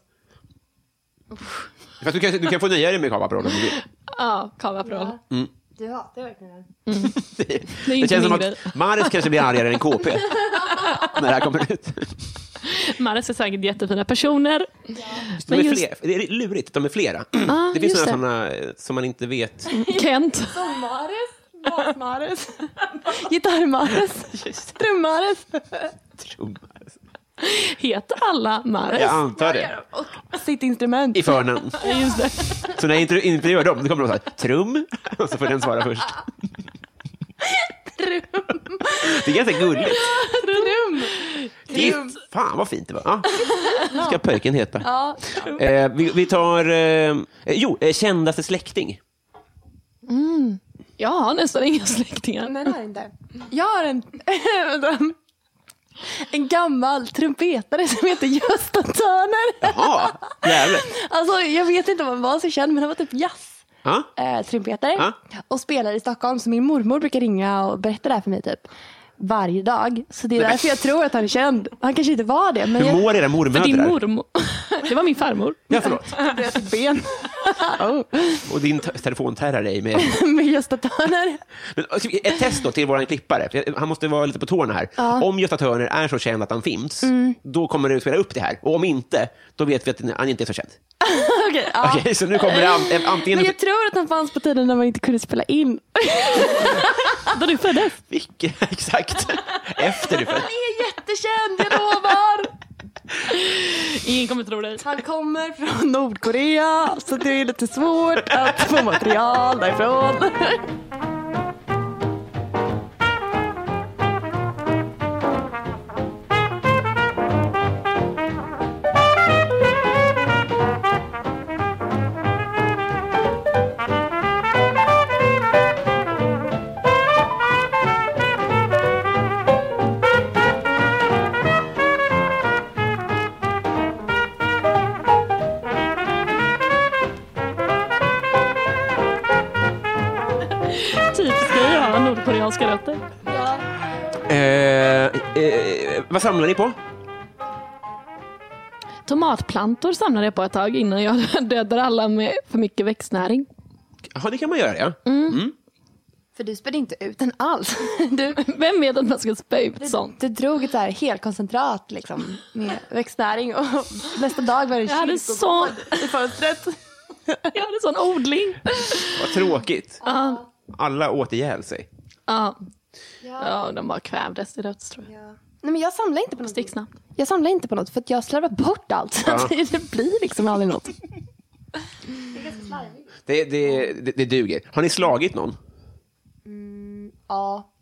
Fast du, kan, du kan få nöja dig med Cavaprol om du vill. Ja, Cavaprol. Du hatar verkligen den. Det är Det inte känns min som grej. att Maris kanske blir argare än KP när det här kommer ut. Maris är säkert jättefina personer. De är Men just- fler, det är lurigt, de är flera. det finns just några sådana det. eh, som man inte vet. Kent. Maris, bas-Maris, gitarr-Maris, trum-Maris. Heter alla Maris? Jag antar det. Och sitt instrument. I förnamn. Just det. Så när jag inte intervjuar dem, då kommer de så här, trum, och så får den svara först. Det är ganska gulligt. Trum. Det är, fan vad fint det var. Ja. ska pöjken heta. Ja. Eh, vi, vi tar, eh, jo, eh, kändaste släkting. Jag har nästan inga släktingar. Nej, det har jag inte. Jag har en, vänta. en gammal trumpetare som heter Gösta Törner. Jaha, jävlar. Alltså, jag vet inte om han var så känd, men han var typ jazz. Ja. eh, trumpetare Ja. och spelar i Stockholm. Så min mormor brukar ringa och berätta det här för mig typ varje dag. Så det är därför jag tror att han är känd. Han kanske inte var det, men Hur jag mår era mormödrar? Din mormor. Det var min farmor. Ja, förlåt. bröt ett ben Och din t- telefon terrar dig med... Oh. med Gösta Törner. Men, alltså, ett test då till vår klippare. för jag- Han måste vara lite på tårna här. Om Gösta Törner är så känd att han finns, Mm. då kommer du spela upp det här. Och om inte, då vet vi att han inte är så känd. Okej, ja. Okej, så nu kommer det an- antingen... Men jag tror att han fanns på tiden när man inte kunde spela in. Då du föddes. Vilket- Exakt. Efter du föddes. Han är jättekänd, jag lovar! Ingen kommer tro dig. Han kommer från Nordkorea, så det är lite svårt att få material därifrån. Typiskt grej att ha nordkoreanska rötter. Eh, eh, vad samlar ni på? Tomatplantor samlade jag på ett tag innan jag dödade alla med för mycket växtnäring. Ja, det kan man göra, ja. Mm. För du spelade inte ut den alls. Du, Vem vet att man ska spä ut sånt? Du drog ett så här helkoncentrat liksom, med växtnäring och nästa dag var det en Jag hade, kyrkogård så, i fönstret. jag hade sån odling. Vad tråkigt. Ja. Alla åt ihjäl sig. Ja. ja, de bara kvävdes till döds tror jag. Nej, men jag samlar inte på något. Sticksnabbt. Jag samlar inte på något för att jag slarvar bort allt. Så att det blir liksom aldrig något. Det, det, det, det duger. Har ni slagit någon? Ja.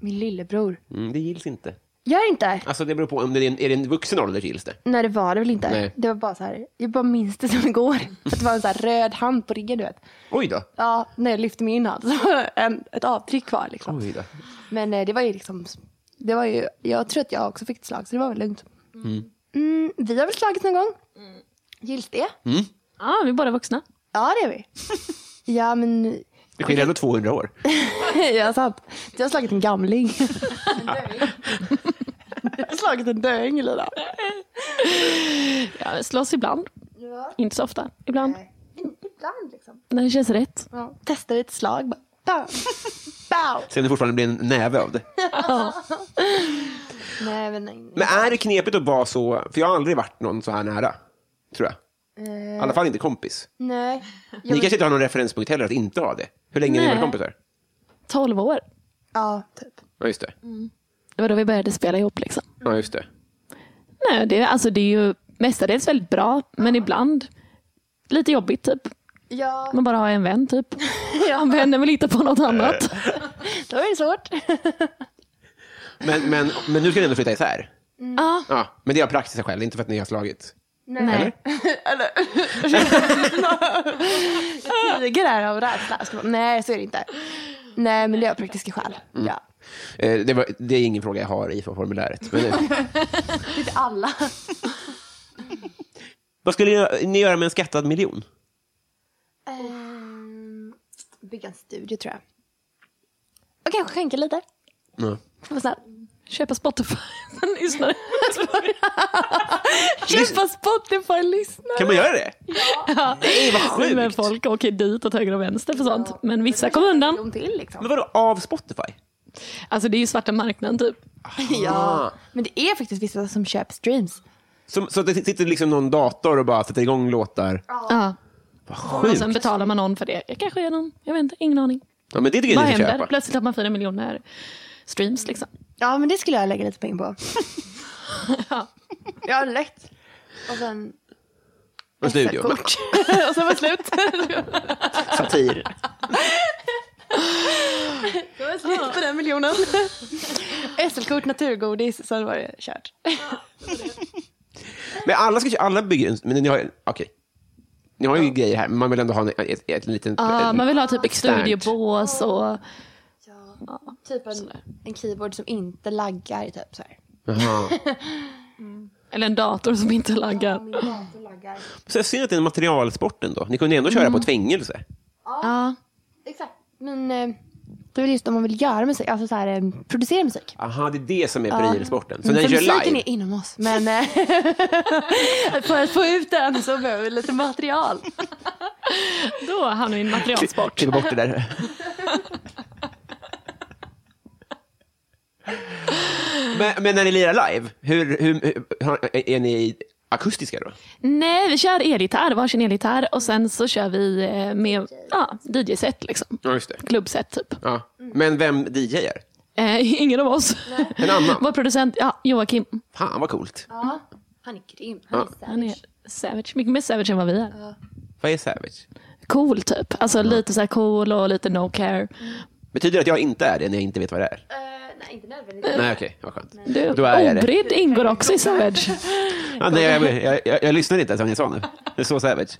Min lillebror. Mm, det gills inte. Gör inte. Alltså, det beror på om det är en, är det en vuxen ålder gills det. Nej det var det väl inte. Nej. Det var bara så här. Jag bara minns det som igår. Att det var en så här röd hand på ryggen du vet. Oj då. Ja, när jag lyfte mig in hand så var det en, ett avtryck kvar liksom. Oj då. Men eh, det var ju liksom, det var ju, jag tror att jag också fick ett slag så det var väl lugnt. Mm, vi har väl slagit någon gång? Gills det? Mm. Ja, vi är båda vuxna. Ja det är vi. ja men, Det skiljer ändå 200 år. ja sant. Du har slagit en gamling. du har slagit en döing Lina. Ja, slåss ibland. Inte så ofta. Ibland. Ibland liksom. När det känns rätt. Ja. Testar ett slag bara. Bam. Bow. Sen det fortfarande blir en näve av det. Nej men nej. nej. Men är det knepigt att vara så, för jag har aldrig varit någon så här nära, tror jag. I alla fall inte kompis. Eh, nej. Ni kanske inte har någon referenspunkt heller att inte ha det? Hur länge har ni Nej. varit kompisar? 12 år. Ja typ. Ja, just det. Mm. Det var då vi började spela ihop liksom. Ja, just det. Nej, det, alltså, det är ju mestadels väldigt bra, men ibland lite jobbigt typ. Ja. Man bara har en vän typ. Ja, vännen vill hitta på något annat. Då är det svårt. Men, men, men nu ska ni ändå flytta isär? Mm. Ja. Ja, men det är av praktiska skäl, inte för att ni har slagit. Nej. Tiger är av rädsla. Ska man- Nej så är det inte. Nej men det är av praktiska skäl. Ja. Eh, det, var, det är ingen fråga jag har i formuläret. Men, eh, Typ alla. vad skulle ni göra med en skattad miljon? Ehm, Bygga en studio tror jag. Och kanske skänka lite. Mm. Var snäll. Köpa Spotify. Man lyssnar. Köpa Spotify-lyssnare. Kan man göra det? Nej, vad sjukt. Men folk åker dit åt höger och vänster för sånt. Men vissa kommer undan. De till liksom. Men vadå, av Spotify? Alltså det är ju svarta marknaden typ. Ja. Men det är faktiskt vissa som köper streams. Som, så att det sitter liksom någon dator och bara sätter igång låtar? Ja. Vad Och sjukt. sen betalar man någon för det. Jag kanske är någon, jag vet inte, ingen aning. Ja, men det tycker Vad jag ni ska händer? köpa. Plötsligt har man fyra miljoner streams liksom. Ja, men det skulle jag lägga lite pengar på. ja, lätt. Och sen... Och studio. SL-kort. Och sen var det slut. Satir. Slut på den miljonen. SL-kort, naturgodis, sen var det kört. Men alla, ska, alla bygger en... Men ni har, okay. ni har ju grejer här, men man vill ändå ha en, ett, ett, ett litet... Ja, en- man vill ha typ ett externt. studiobås och... Typ en, en keyboard som inte laggar. Typ, så här. Jaha. Eller en dator som inte laggar. laggar. Så jag ser att det är en materialsport ändå. Ni kunde ändå köra Mm. på ett fängelse. Ja. Exakt. Men eh, det är väl just om man vill göra musik, alltså så här, eh, producera musik. Aha, det är det som är prylsporten. Så när Mm, ni för kör musiken live, är inom oss. Men eh, för att få ut den så behöver vi lite material. Då hamnar vi i en materialsport. klipper bort det där. men, men när ni lirar live, hur, hur, hur, har- är ni akustiska då? Nej, vi kör elgitarr, varsin elgitarr och sen så kör vi eh, med ja, DJ-set, liksom. Ja, just det. klubbset typ. Ja. Men vem DJar? Eh, ingen av oss. En annan? Vår producent, ja, Joakim, Fan vad coolt. Han är grym. Han är savage. han är savage. Mycket mer savage än vad vi är. Vad är savage? Cool typ. Alltså lite så här cool och lite no care. Betyder det att jag inte är det när jag inte vet vad det är? Eh, nej, inte nödvändigtvis. Nej, okej, vad skönt. Du, Då är jag det. obrydd ingår också i savage. Ja, nej, jag, jag, jag, jag lyssnar inte ens vad ni sa nu. Det är så savage.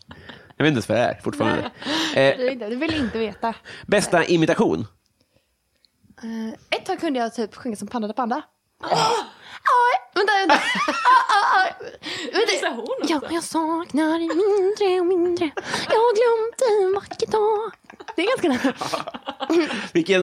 Jag vet inte ens vad det är fortfarande. Eh, Du, är inte- du vill inte veta. bästa imitation? Eh, ett tag kunde jag typ sjunga som Panda da Panda. Oj, vänta, vänta. Ah, Visar hon också? Ja, jag saknar dig mindre och mindre. Jag har glömt dig en vacker dag. Det är ganska nära. Vilken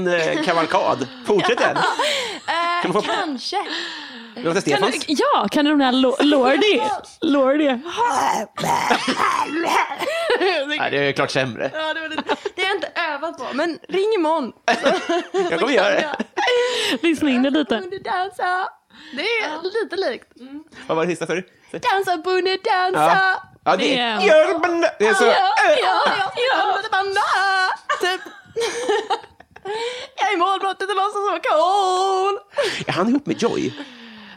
eh, kavalkad. Fortsätt den. Kan man få- Kanske. Vi låter Kan du, Stefans. ja, kan du de där lo- Lordi? Lordi. Nej, det är klart sämre. Ja, det, var lite, det har jag inte övat på, men ring imorgon. Jag kommer göra det. Lyssna in det lite. Bonde dansa. Det är lite likt. Vad var det sista, sa du? Dansa, bonde Ja. dansa. Ja, det Ja. är... Gör man- Det är så... Ja, ja, ja. Banda. Typ. Jag är målbrottet och låtsas vara cool. Är han ihop med Joy?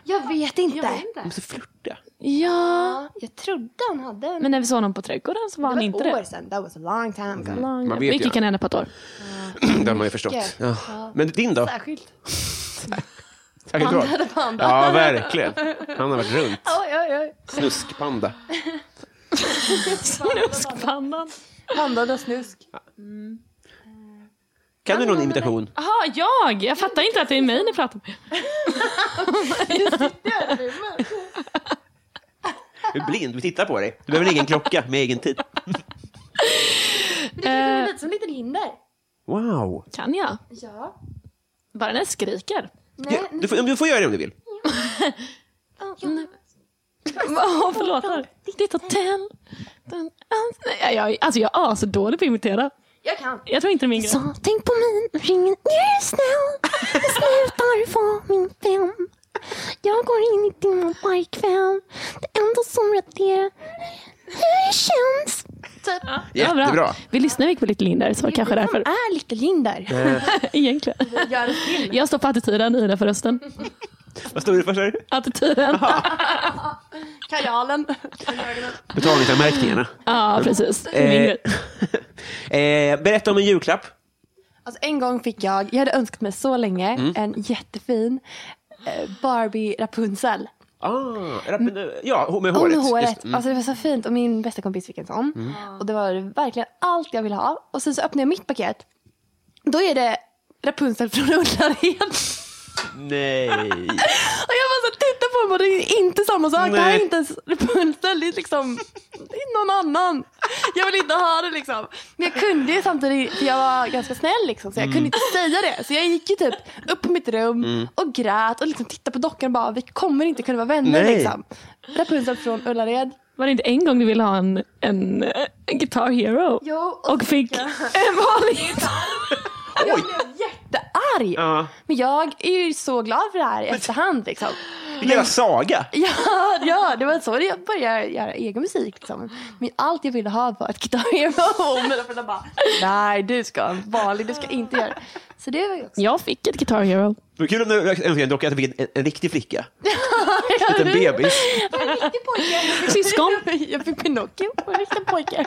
Jag vet inte. Jag, De måste flirta. Ja, trodde han hade en. men när vi såg honom på trädgården så var han inte år det. sedan. That was a long time ago. Mm. Man vet ju. Mycket kan hända på ett år. Det har man ju förstått. Ja. Men din då? Särskilt. Tack ska du ha. Panda, panda. Ja, verkligen. Han har varit runt. Oj, oj, Eh. oj. Snuskpanda. Snuskpandan. Pandan och snusk. Kan du någon imitation? Jaha, jag! Jag fattar inte att det är mig ni pratar med. Du är blind, vi tittar på dig. Du behöver egen klocka med egen tid. ligger lite som en liten hinder. Wow. Kan jag? Ja. Bara när jag skriker. Nej, Ja, du, får, du får göra det om du vill. Åh, förlåt. här. Ditt hotell. Den- Nej, jag, alltså jag är asdålig på att imitera. jag kan. Jag tror inte det är min grej. Så tänk på min ring nu snäll. Slutar vara min vän. Jag går in i din pojkvän. Det enda som raderar hur det känns. Ja, bra. Jättebra. Vi lyssnar mycket på Little Linder, så kanske därför. Är lite Linder. Egentligen. Gör det till. Jag står på attityden, Ida för rösten. Vad står det för? sa du? Attityden. Kajalen. Betalningsanmärkningarna. Ja, precis. Min Eh, grej. eh, berätta om en julklapp. Alltså en gång fick jag, jag hade önskat mig så länge, Mm. en jättefin eh, Barbie Rapunzel. Ah, rapp- ja, med Och håret. med håret. Just, mm. Alltså det var så fint och min bästa kompis fick en sån. Och det var verkligen allt jag ville ha. Och sen så öppnade jag mitt paket. Då är det Rapunzel från Ullared. Mm, Nej. Och jag bara så titta på mig och det är inte samma sak. Det här Nej. är inte ens Rapunzel. Det är liksom det är någon annan. Jag vill inte ha det liksom. Men jag kunde ju samtidigt, för jag var ganska snäll liksom. Så jag Mm. kunde inte säga det. Så jag gick ju typ upp på mitt rum och grät och liksom tittade på dockan och bara vi kommer inte kunna vara vänner Nej. liksom. Rapunzel från Ullared. Var det inte en gång du ville ha en, en, eh, Guitar Hero? Jo, och och fick fick jag. en vanlig gitarr. Jag blev jättearg. Ja. Men jag är ju så glad för det här i efterhand. Liksom. Lilla Saga. Ja, ja, det var så jag började göra egen musik. Liksom. Men allt jag ville ha var ett Guitar Hero. Och mina föräldrar bara, nej du ska ha en vanlig, du ska inte göra det. Så det var ju också... Jag fick ett Guitar Hero. Vad kul om du önskar en docka att du fick en, en riktig flicka. En liten bebis. En riktig pojke. Syskon. Jag fick Pinocchio och en riktig pojke.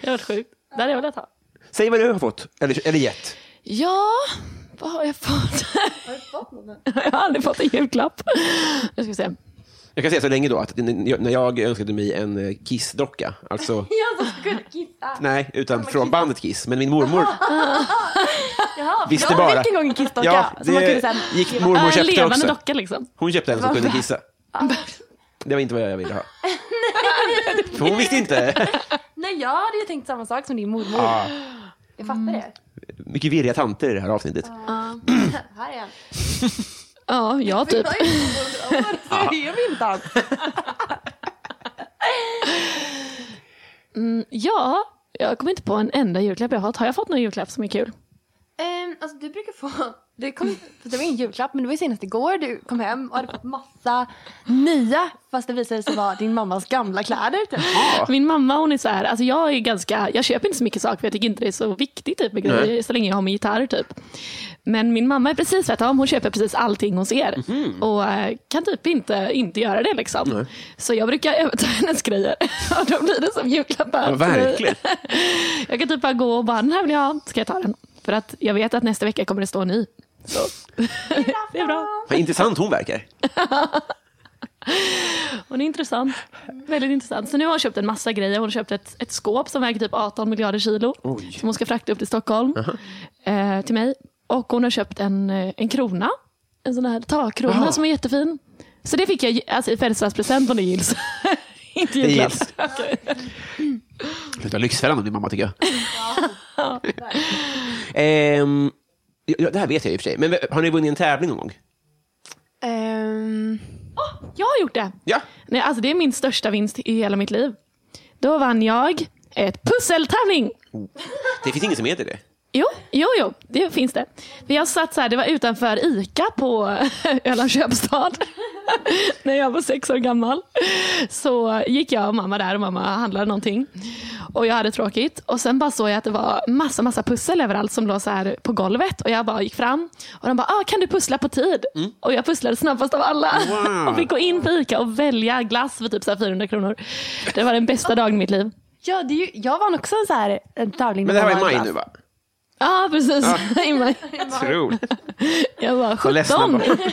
Det var sjukt. Det hade jag velat ha. Säg vad du har fått, eller, eller gett. Ja, vad har jag fått? jag har aldrig fått en julklapp. Jag ska se. Jag kan säga så länge då, att när jag önskade mig en eh, Kiss-docka, alltså, Jag som skulle kissa. nej, utan från bandet Kiss, men min mormor Jaha, Visste jag bara. fick en gång en kissdocka. Ja, som man det kunde sen... gick mormor en och köpte Eh, levande också. docka liksom. Hon köpte en som kunde kissa. Det var inte vad jag ville ha. För hon visste inte. Nej, jag hade ju tänkt samma sak som din mormor. Ja. Jag fattar det. Mycket virriga tanter i det här avsnittet. Mm. Här är han. Ja, jag typ. Jag är ju 100 år, så jag är min tant. Ja, jag kommer inte på en enda julklapp jag har fått. Har jag fått någon julklapp som är kul? Ehm, alltså du brukar få, det, kom, fast det var ingen julklapp men det var ju senast igår du kom hem och hade fått massa nya fast det visade sig vara din mammas gamla kläder. Typ. Min mamma hon är så här, alltså jag är ganska, jag köper inte så mycket saker för jag tycker inte det är så viktigt typ med grejer så länge jag har min gitarr typ. Men min mamma är precis tvärtom, hon köper precis allting hon ser Mhm. och eh, kan typ inte, inte göra det liksom. Så jag brukar överta hennes grejer och då blir det som julklappar. Ja, verkligen. Jag kan typ bara gå och bara, den här vill jag ha, ska jag ta den? För att jag vet att nästa vecka kommer det stå en ny. Så. det är bra. Vad intressant hon verkar. Hon är intressant. Väldigt intressant. Så nu har hon köpt en massa grejer. Hon har köpt ett, ett skåp som väger typ 18 miljarder kilo. Som hon ska frakta upp till Stockholm. eh, till mig. Och hon har köpt en, eh, en krona. En sån här takkrona som är jättefin. Så det fick jag alltså, i födelsedagspresent om det gills. Inte julklapp. gills. Sluta Lyxfällan om din mamma, tycker jag. Ehm, ja, det här vet jag i och för sig, men har ni vunnit en tävling någon gång? Ehm, Jag har gjort det. Ja. Nej, alltså, det är min största vinst i hela mitt liv. Då vann jag ett pusseltävling. Det finns ingen som heter det. Jo, jo, jo, det finns det. Vi har satt så här, det var utanför ICA på Ölands köpstad. När jag var sex år gammal. Så gick jag och mamma där och mamma handlade någonting. Och jag hade tråkigt. Och sen bara såg jag att det var massa, massa pussel överallt som låg så här på golvet. Och jag bara gick fram och de bara, ah, kan du pussla på tid? Och jag pusslade snabbast av alla. Wow. Och fick gå in på ICA och välja glass för typ så här 400 kronor. Det var den bästa dagen i mitt liv. ja, det är ju, jag vann också en, så här, en tävling. Men det här var i där man maj vann nu, va? Ja, ah, precis. I maj. Otroligt. Jag var Vad ledsna 17. barn. glass.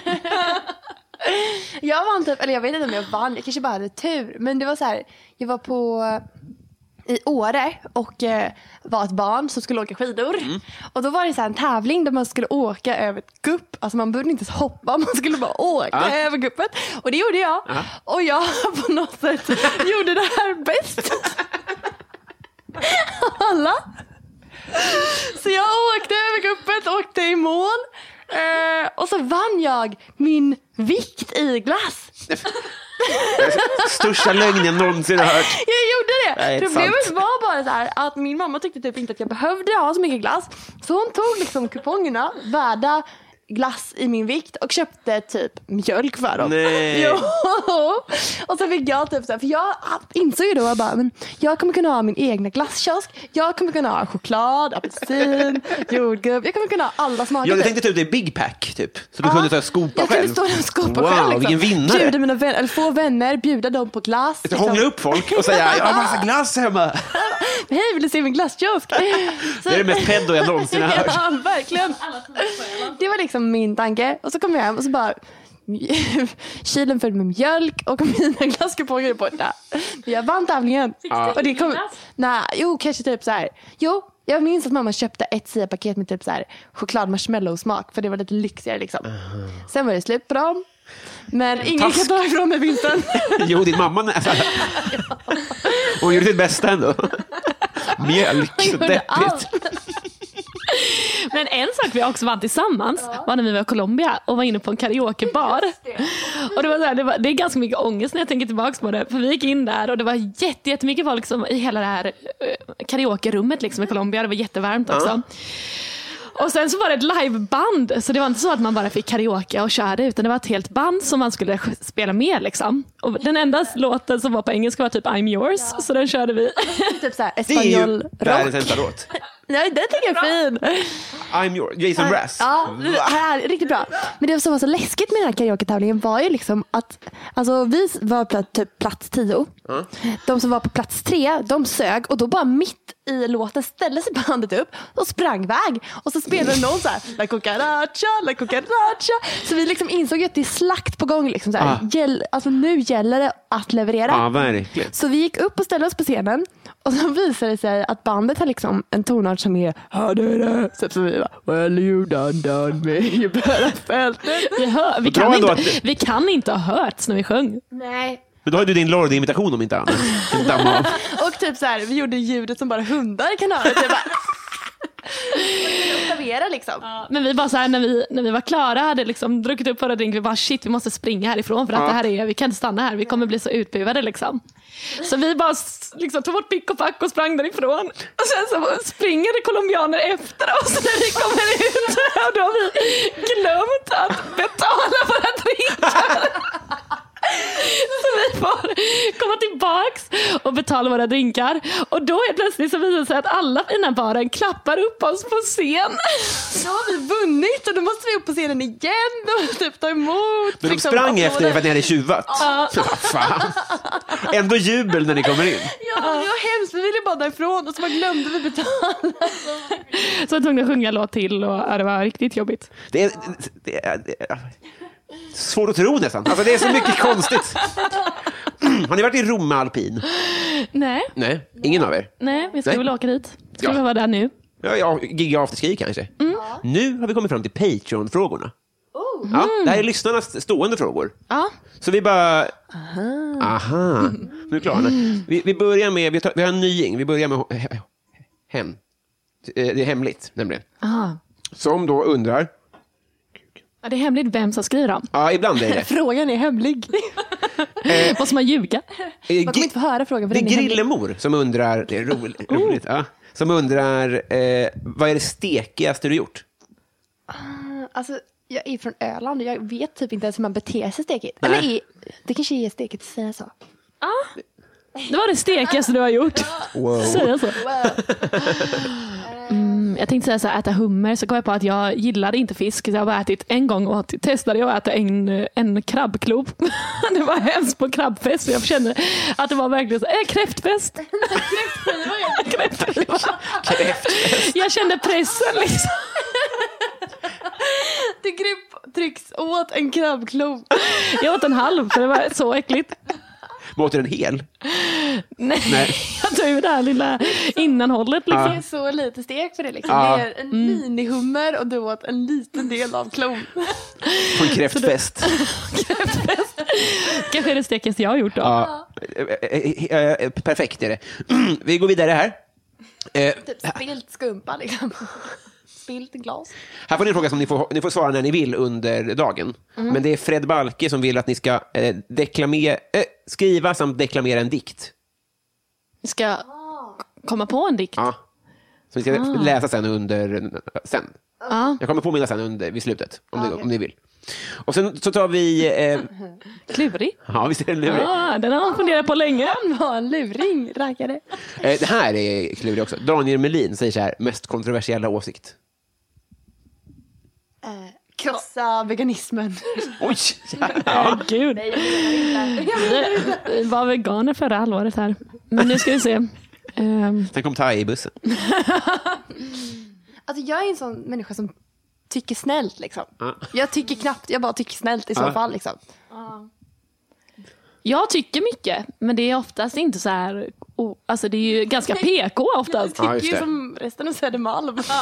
Jag vann typ, eller jag vet inte om jag vann, jag kanske bara hade tur. Men det var så här, jag var på i Åre och eh, var ett barn som skulle åka skidor. Och då var det så här en tävling där man skulle åka över ett gupp. Alltså man behövde inte ens hoppa, man skulle bara åka Ah. över guppet. Och det gjorde jag. Och jag på något sätt gjorde det här bäst. Alla. Så jag åkte över guppet, åkte i mål. Eh, och så vann jag min vikt i glass. Största lögnen jag någonsin har hört. Jag gjorde det. Nej, det är Problemet sant. var bara så här att min mamma tyckte typ inte att jag behövde ha så mycket glass. Så hon tog liksom kupongerna, värda glass i min vikt och köpte typ mjölk för dem. Nej. Jo. Och så fick jag typ så här, för jag insåg ju då jag bara, men jag kommer kunna ha min egna glasskiosk. Jag kommer kunna ha choklad, apelsin, jordgubb. Jag kommer kunna ha alla smaker. Jag typ. tänkte ta ut det i Big Pack, typ. Så du Ja. kunde ta skopa jag själv. kunde stå där och skopa wow, själv. Liksom. vilken vinnare. Bjuda mina vänner, eller få vänner, bjuda dem på glass. Liksom. Hångla upp folk och säga jag har massa glass hemma. Hej, vill du se min glasskiosk? Så- Det är det mest pedo jag någonsin har hört. Ja, verkligen. Det var liksom min tanke. Och så kom jag hem och så bara kylen full med mjölk och mina glasskuponger är borta. Men jag vann tävlingen. Och det kom, nej, jo, kanske typ så här. Jo, jag minns att mamma köpte ett SIA-paket med typ så här choklad-marshmallow-smak för det var lite lyxigare liksom. Sen var det slut på dem. Men ingen kan Task. ta ifrån mig vinsten. Jo, din mamma nästan. Hon gjorde sitt bästa ändå. Mjölk, så gjorde deppigt. allt. Men en sak vi också vann tillsammans var när vi var i Colombia och var inne på en karaokebar. Och det, var så här, det, var, det är ganska mycket ångest när jag tänker tillbaka på det. För vi gick in där och det var jätte, jättemycket folk som, i hela det här eh, karaokerummet liksom, i Colombia. Det var jättevarmt också. Och sen så var det ett liveband, så det var inte så att man bara fick karaoke och körde, utan det var ett helt band som man skulle sj- spela med. Liksom. Och den enda låten som var på engelska var typ I'm yours, så den körde vi. typ så här Det är ju espanjol rock. världens sämsta låt. Nej, den tycker jag är fin. I'm your Jason Brass. Ja, det här, är riktigt bra. Men det som var så läskigt med den här karaoke-tävlingen var ju liksom att alltså, vi var på typ plats tio. De som var på plats tre, de sög och då bara mitt i låten ställde sig bandet upp och sprang iväg. Och så spelade någon så här, la cucaracha, la cucaracha. Så vi liksom insåg ju att det är slakt på gång. Liksom, så här. Ah. Gäll, alltså, nu gäller det att leverera. Ja, verkligen. Så vi gick upp och ställde oss på scenen och så visade det sig att bandet har liksom en tonart som är "Ja, det är det." Så- så vi bara, Well you done done me, you better felt it. Vi, hör, vi, Bra kan ändå inte, att- vi kan inte ha hörts när vi sjöng. Men då har ju du din Lorde-imitation om inte annat. Din damma av. Och typ så här, vi gjorde ljudet som bara hundar kan höra. Typ bara, Observera liksom. Men vi bara så här, när, vi, när vi var klara hade liksom druckit upp våra drinkar. Vi bara shit vi måste springa härifrån för att det här är, vi kan inte stanna här. Vi kommer bli så utbuade. Liksom. Så vi bara s- liksom, tog vårt pick och pack och sprang därifrån. Och sen så springer det colombianer efter oss när vi kommer ut. Och då har vi glömt att betala våra drinkar. Så vi får komma tillbaks och betala våra drinkar. Och då är plötsligt så visar det sig att alla i den här baren klappar upp oss på scen. Då har vi vunnit och då måste vi upp på scenen igen och typ ta emot. Men de liksom, sprang applåder. efter er för att ni hade tjuvat. Fan. Ändå jubel när ni kommer in. Ja, det var hemskt. Vi ville bara därifrån och så bara glömde vi betala. Så jag var tvungen att sjunga en låt till och ja, det var riktigt jobbigt. Det är, det är, det är svårt att tro nästan. Alltså, det är så mycket konstigt. Har ni varit i Rom med alpin? Nej, Nej, ingen av er? nej, vi ska Nej. väl åka dit. Ska Ja. vi vara där nu? Ja, ja, Giga afterski kanske. Nu har vi kommit fram till Patreon-frågorna. Ja, det här är lyssnarnas stående frågor. Ja. Så vi bara... Aha. Nu är klara. Vi, vi börjar med... Vi, tar, vi har en nying. Vi börjar med h- he- hen. Eh, Det är hemligt, nämligen. Ah. Som då undrar... Ja, det är hemligt vem som skriver dem. Ja, ibland är det. Frågan är hemlig. Måste man ljuga? Eh, Man kommer inte få höra frågan för Det är den är hemlig. Grillemor som undrar... Det är roligt. roligt ja, som undrar... Eh, vad är det stekigaste du gjort? Alltså, jag är från Öland och jag vet typ inte ens hur man beter sig stekigt. Eller i, det kanske är stekigt att säga så. Det var det stekigaste du har gjort. Wow. Säga så. Mm, jag tänkte säga så här, äta hummer, så kom jag på att jag gillade inte fisk. Så jag har bara ätit en gång och åt- testade jag att äta en, en krabbklo. Det var hemskt på krabbfest. Jag kände att det var verkligen så, äh, kräftfest. Kräftskiva. Jag kände pressen liksom. Det grep trycks åt en krabbklo. Jag åt en halv för det var så äckligt. Men åt du den hel? Nej, Nej. jag tog ju det här lilla innanhållet. Liksom. Det är så lite stek för det liksom. Ja. Det är en Mm. minihummer och du åt en liten del av klon. På en kräftfest? Kanske är det stekigaste jag har gjort då. Ja. Eh, eh, eh, eh, Perfekt är det. Vi går vidare här. Eh, Typ spilt skumpa liksom. Spilt glas. här får ni en fråga som ni får, ni får svara när ni vill under dagen. Men det är Fred Balke som vill att ni ska eh, deklamera, eh, skriva samt deklamera en dikt. Ska jag komma på en dikt? Ja. Som vi ska Ah. läsa sen under... Sen. Ja. Jag kommer påminna sen under, vid slutet, om, Ah, ni, om ni vill. Och sen så tar vi... Eh, Klurig. ja, visst är det lurigt? Ah, den har man funderat på länge. Var en luring, raggare. Eh, det här är klurigt också. Daniel Melin säger så här, mest kontroversiella åsikt. Krossa veganismen. Oj! Ja. Gud. Vi var veganer förra halvåret här. Men nu ska vi se. Ehm, Sen kom Tai i bussen. Alltså jag är en sån människa som tycker snällt liksom. Jag tycker knappt, jag bara tycker snällt i så Ja. fall liksom. jag tycker mycket, men det är oftast inte så här... o- Alltså det är ju ganska PK oftast. Ja, Det just är ju det. som resten av Södermalm. Alltså,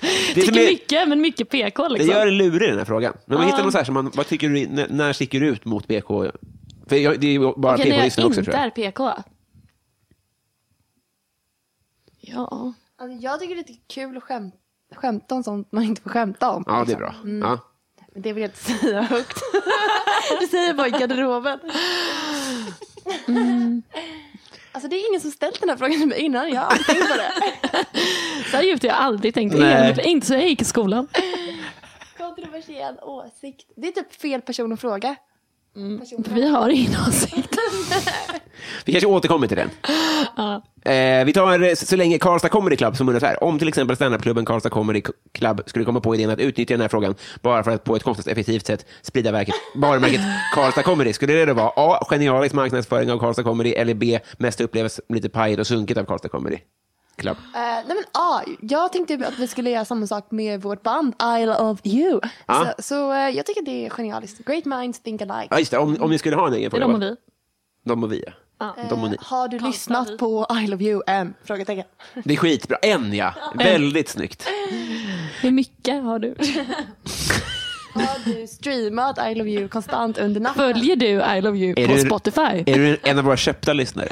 Det, som Tycker är, mycket, Ah. men mycket PK det liksom. gör det lurig den här frågan. Men man hittar någon så här, som man, vad tycker du, när, när sticker du ut mot BK? För jag, det är ju bara Okej, när jag PK-lyssnare också inte tror jag. är PK. Ja. Alltså jag tycker det är lite kul att skäm, skämta om sånt man inte får skämta om. Ja, det är liksom. bra. Mm. Ja. Men det vill jag inte säga högt. det säger jag bara i garderoben. Alltså det är ingen som ställt den här frågan till mig innan. Jag har aldrig tänkt på det. Så här djupt har jag aldrig tänkt. Nej. Inte- Inte så jag gick i skolan. Kontroversiell åsikt. Det är typ fel person att fråga. Person att Vi har ingen åsikt. Vi kanske återkommer till den. Eh, vi tar eh, så länge Karlstad Comedy Club som undrar så här. Om till exempel standupklubben Karlstad Comedy Club skulle komma på idén att utnyttja den här frågan bara för att på ett konstnadseffektivt sätt sprida verket, varumärket Karlstad Comedy. Skulle det då vara A. Genialisk marknadsföring av Karlstad Comedy eller B. Mest upplevs lite pajigt och sunkigt av Karlstad Comedy Club. Eh, nej men ah, jag tänkte att vi skulle göra samma sak med vårt band Isle of You. Ja. Så, så eh, jag tycker det är genialiskt. Great minds think alike. Ja, just det. Om, om ni skulle ha en egen Det är fråga. de va? och vi. De och vi, ja. De och ni. Eh, Har du lyssnat på Isle of You än? Frågetecken. Det är skitbra. En, ja. Väldigt snyggt. Hur mycket har du? Har du streamat Isle of You konstant under natten? Följer du I Love You Är på du- Spotify? Är du en av våra köpta lyssnare?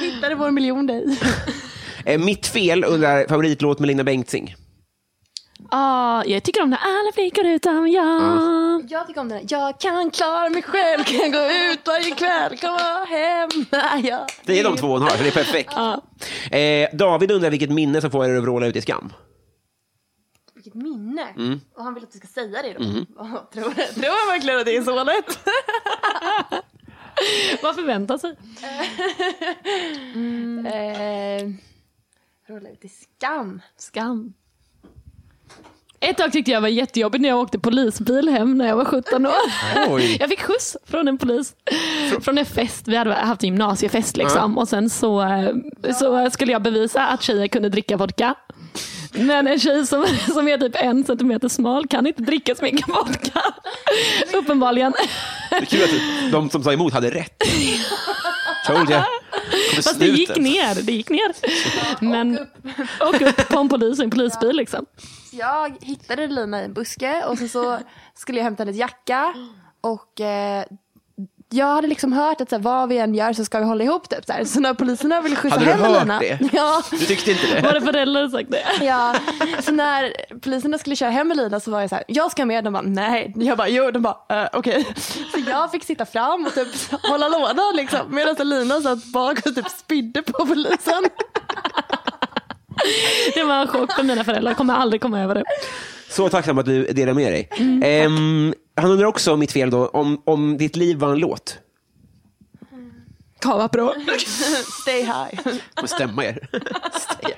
Hittade vår miljon dig. Eh, mitt fel undrar favoritlåt med Lina Bengtzing. Ah, jag tycker om när alla flickor utom jag. Jag tycker om den här. Jag kan klara mig själv, kan gå ut varje kväll, komma hem när jag... Det är de två hon har, så det är perfekt. Eh, David undrar vilket minne som får er att vråla ut i skam. Vilket minne. Och han vill att du ska säga det då. Tror, tror han verkligen att det är så lätt? Vad förväntar sig? Eh, rulla ut i skam. Skam. Ett tag tyckte jag var jättejobbigt när jag åkte polisbil hem när jag var 17 år. Oj. Jag fick skjuts från en polis. Från en fest. Vi hade haft gymnasiefest liksom. Och sen så, eh, så skulle jag bevisa att tjejer kunde dricka vodka. Men en tjej som, som är typ en centimeter smal kan inte dricka så mycket vodka. Uppenbarligen. Det är kul att de som sa emot hade rätt. Told ya. Kommer Fast det gick snuten. ner. Det gick ner. Men, och upp på en polis i en polisbil. Liksom. Jag hittade Lina i en buske och sen så skulle jag hämta hennes jacka. Och eh, jag hade liksom hört att så här, vad vi än gör så ska vi hålla ihop. Typ, så, här. så när poliserna ville skjutsa Hade du hem hört Lina. det? Ja, Du tyckte inte det? Våra föräldrar sagt det. ja. Så när poliserna skulle köra hem Elina så var jag så här, jag ska med. De bara nej. Jag bara jo. De bara eh, okej. Så jag fick sitta fram och typ hålla lådan liksom. Medan Elina satt bak och typ spydde på polisen. Det var en chock för mina föräldrar. Jag kommer aldrig komma över det. Så tacksam att du delar med dig. Mm. Ehm, han undrar också, mitt fel då, om, om ditt liv var en låt. Kavapro. Stay high. Får stämma er. Stay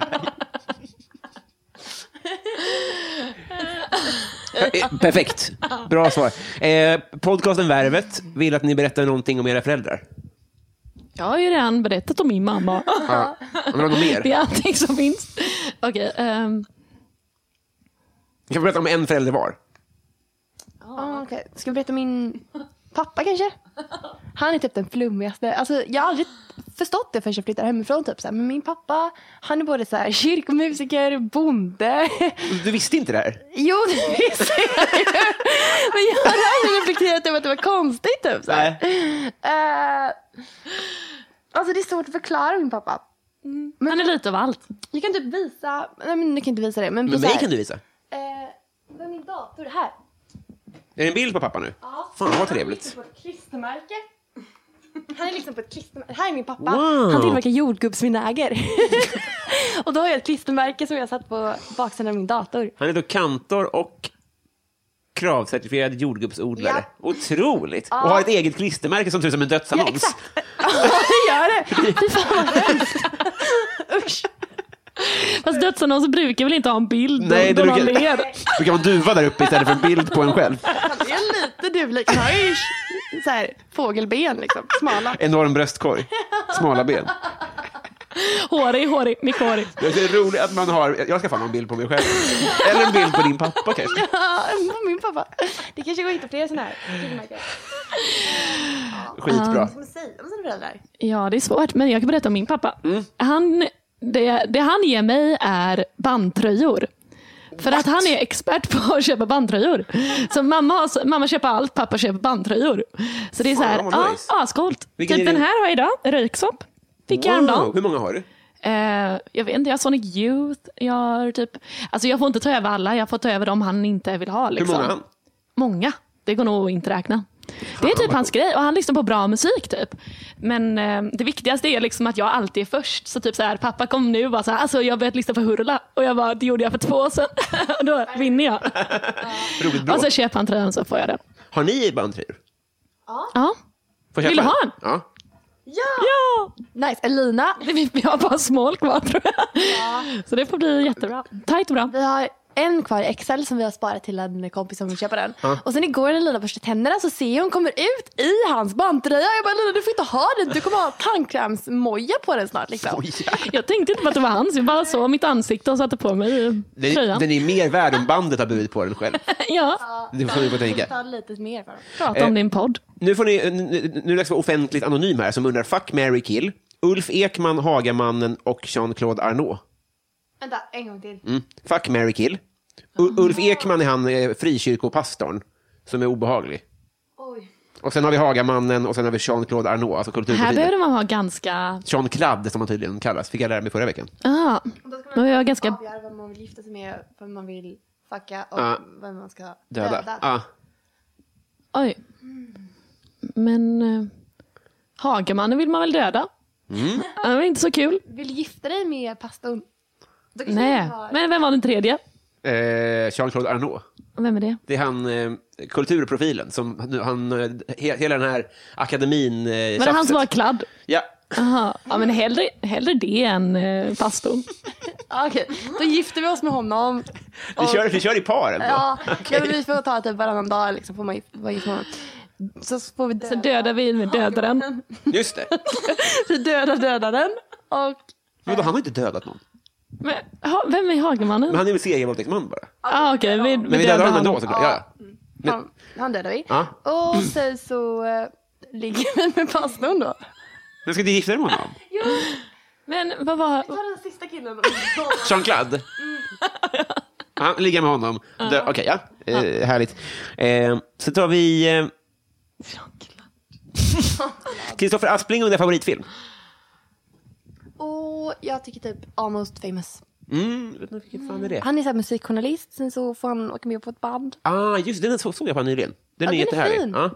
high. Eh, Perfekt. Bra svar. Eh, podcasten Värvet vill att ni berättar någonting om era föräldrar. Jag har ju redan berättat om min mamma. Ja. Om något mer? Det är allting som finns. Okej. ehm, Ni kan berätta om en förälder var. Ah, Oh, Ska jag berätta min Pappa kanske? Han är typ den flummigaste. Alltså, jag har aldrig förstått det förrän jag flyttade hemifrån. Typ. Så här, men min pappa, han är både så här, kyrkomusiker, bonde. Du visste inte det här? Jo, det visste jag ju. Men jag hade aldrig reflekterat över att det var konstigt. Typ, så här. Eh, alltså det är svårt att förklara min pappa. Han är lite av allt. Jag kan typ visa, nej men nu kan jag inte visa det. Men, på Men så mig här- kan du visa. Är Eh, det är min dator här. det en bild på pappa nu? Ja. Fan, vad trevligt. Han är liksom på ett klistermärke. Han är liksom på ett klistermärke. Här är min pappa. Wow. Han tillverkar jordgubbsvinäger. och då har jag ett klistermärke som jag satt på baksidan av min dator. Han är då kantor och kravcertifierad jordgubbsodlare. Ja. Otroligt! Och har ett eget klistermärke som ser ut som en dödsannons. Ja, exakt. Ja, det gör det. Fy fan vad hemskt. Usch. Fast dödsannonser brukar väl inte ha en bild Nej, då det någon brukar- ler? Du kan ha en duva där uppe istället för en bild på en själv. Han är lite duvlik. Han har ju så här, fågelben liksom. Smala. Enorm bröstkorg, smala ben. Hårig, hårig, mycket hårig. Det är roligt att man har, jag ska fan ha en bild på mig själv. Eller en bild på din pappa kanske. Ja, min pappa. Det kanske går att hitta fler sådana här klistermärken. Skitbra. Som säger om sina föräldrar. Ja, det är svårt. Men jag kan berätta om min pappa. Mm. Han, det, det han ger mig är bandtröjor. För att han är expert på att köpa bandtröjor. Så mamma, har, så- mamma köper allt, pappa köper bandtröjor. Så det är så här, Fan, vad ja, nice. ascoolt. Vilken Typ är den din- här har jag idag, röyksopp. Fick Wow, jag häromdagen. Oh, Hur många har du? Eh, jag vet inte, jag har Sonic Youth. Jag, har typ, alltså jag får inte ta över alla, jag får ta över de han inte vill ha. Hur Liksom. många har han? Många. Det går nog att inte räkna. Det är typ hans grej och han lyssnar på bra musik. typ. Men eh, det viktigaste är liksom att jag alltid är först. Så typ så här, pappa kom nu och bara så här, alltså jag har börjat lyssna på Hurla. Och jag bara, det gjorde jag för två år sedan. och då vinner jag. Roligt Och bråk. så köper han tröjan så får jag den. Har ni bandtröjor? Ja. Får jag Vill köpa du ha en? Ja. ja. Nice. Elina, Vi- Vi har bara smål kvar tror jag. Så det får bli jättebra. Tajt och bra. Vi har en kvar i Excel som vi har sparat till en kompis som vill köpa den. Och sen igår när Lina borstade tänderna så ser jag hon kommer ut i hans bandtröja. Jag bara Lina du får inte ha den. Du kommer ha tandkrämsmoja på den snart. Liksom. Oh, Jag tänkte inte på att det var hans, jag bara såg mitt ansikte och satte på mig Den, tröjan. den är mer värd om bandet har burit på den själv. ja, Det får ni gå och tänka. Ta lite mer för dem. Eh, prata om din podd. Nu får ni, eh, nu- nu är det vara offentligt anonym här som undrar, fuck, Mary kill. Ulf Ekman, Hagamannen och Jean-Claude Arnault. Vänta en gång till. Mm. Fuck, Mary kill. U- Ulf Ekman är han eh, frikyrkopastorn som är obehaglig. Oj. Och sen har vi Hagamannen och sen har vi Jean-Claude Arnault, alltså Här kulturprofilen. behöver man vara ganska... Jean-Claude som han tydligen kallas, fick jag lära mig förra veckan. Ah, man behöver vara ganska... Avgöra vem man vill gifta sig med, vem man vill fucka och Ja. vem man ska döda. Döda. Ah. Oj. Men... eh, Hagemannen vill man väl döda? Mm. Han var inte så kul. Vill du gifta dig med pastorn? Då kanske Nej. du har- Men vem var den tredje? Eh, Jean-Claude Arnault. Vem är det? Det är han, eh, kulturprofilen, som nu, han, eh, he, hela den här akademin... Eh, Var det han tjafset. som var kladd? Ja. Aha. Ja, men hellre, hellre det än eh, pastorn. Ja, Okej, då gifter vi oss med honom. Vi kör, vi kör i par ändå. Ja, ja, men vi får ta typ varannan dag liksom, får man gift- vara gift med honom. Så får vi dö. Så dödar vi med dödaren. Just det. Vi dödar dödaren. Och Men då, han har inte dödat någon. Men, ha, vem är Hagemannen? Men Ja, han är ju segervåldtäktsman bara. ah, okej. vi, Men vi dödar honom honom. ändå såklart. Ja. ja. han, han dödar vi. Ja. Och sen så eh, ligger vi med pastorn då. Men ska du gifta dig med honom? Men vad var... Ta den sista killen då. Jean-Claude? Ja, ligga med honom. Dö- Okej, ja. Eh, härligt. Eh, så tar vi... Eh, Kristoffer Aspling undrar favoritfilm. Och jag tycker typ almost famous. Mm, vet ni vilken fan är det? Han är så här musikjournalist, sen så får han åka med på ett band. Ah, just det, den så- såg jag på nyligen. Den Ja, är den är jättehärlig. fin. Ja.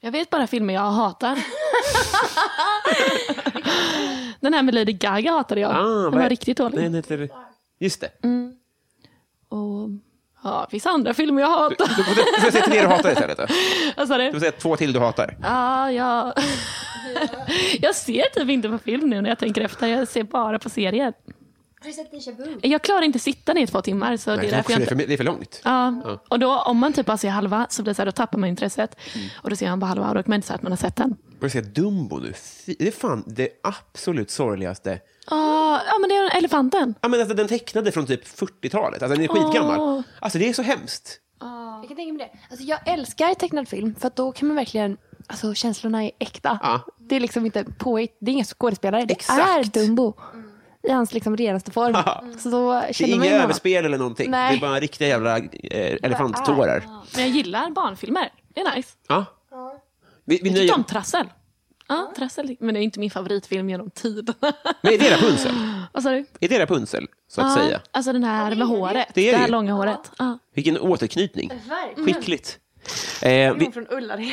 Jag vet bara filmer jag hatar. den här med Lady Gaga hatade jag. Ah, den vad var är- riktigt dålig. Den heter... Just det. Och, ja, det finns andra filmer jag hatar. Du får se- du får se tre du hatar istället. Då. Vad sa Du du? Ah, får se två till du hatar. Ja, jag... jag ser typ inte på film nu när jag tänker efter. Jag ser bara på serier. Har du sett Deja Vu? Jag klarar inte sitta ner i två timmar. Så Nej, det är det, är därför också, det, jag är inte... för, det är för långt. Ja. Och då, om man typ bara ser halva så blir det så här, då tappar man intresset. Mm. Och då ser man bara halva och då kan man inte säga att man har sett den. Börjar se Dumbo nu. Fy- Det är fan det absolut sorgligaste. Ah, ja, men det är elefanten. Ja, men alltså, den tecknade från typ 40-talet. Alltså, den är skitgammal. Åh. Alltså, det är så hemskt. Jag kan tänka mig det. Alltså, jag älskar tecknad film för att då kan man verkligen, alltså känslorna är äkta. Ja. Det är liksom inte påhitt, det är inga skådespelare. Det Exakt. är Dumbo i hans liksom renaste form. Så då Det är känner man inga ju honom. överspel eller någonting. Nej. Det är bara riktiga jävla eh, elefanttårar. Men jag gillar barnfilmer. Det är nice. Ja. Vi, vi Jag tyckte om nöjer Trassel. Ja, Trassel. Men det är inte min favoritfilm genom tid. Men är det Rapunzel? Vad sa du? Är det Rapunzel, så att Ja, säga? Alltså den här med håret. Det Det, är det här ju. långa håret. Ja. Vilken återknytning. Verkligen. Skickligt. Eh, vi, Från Ullared.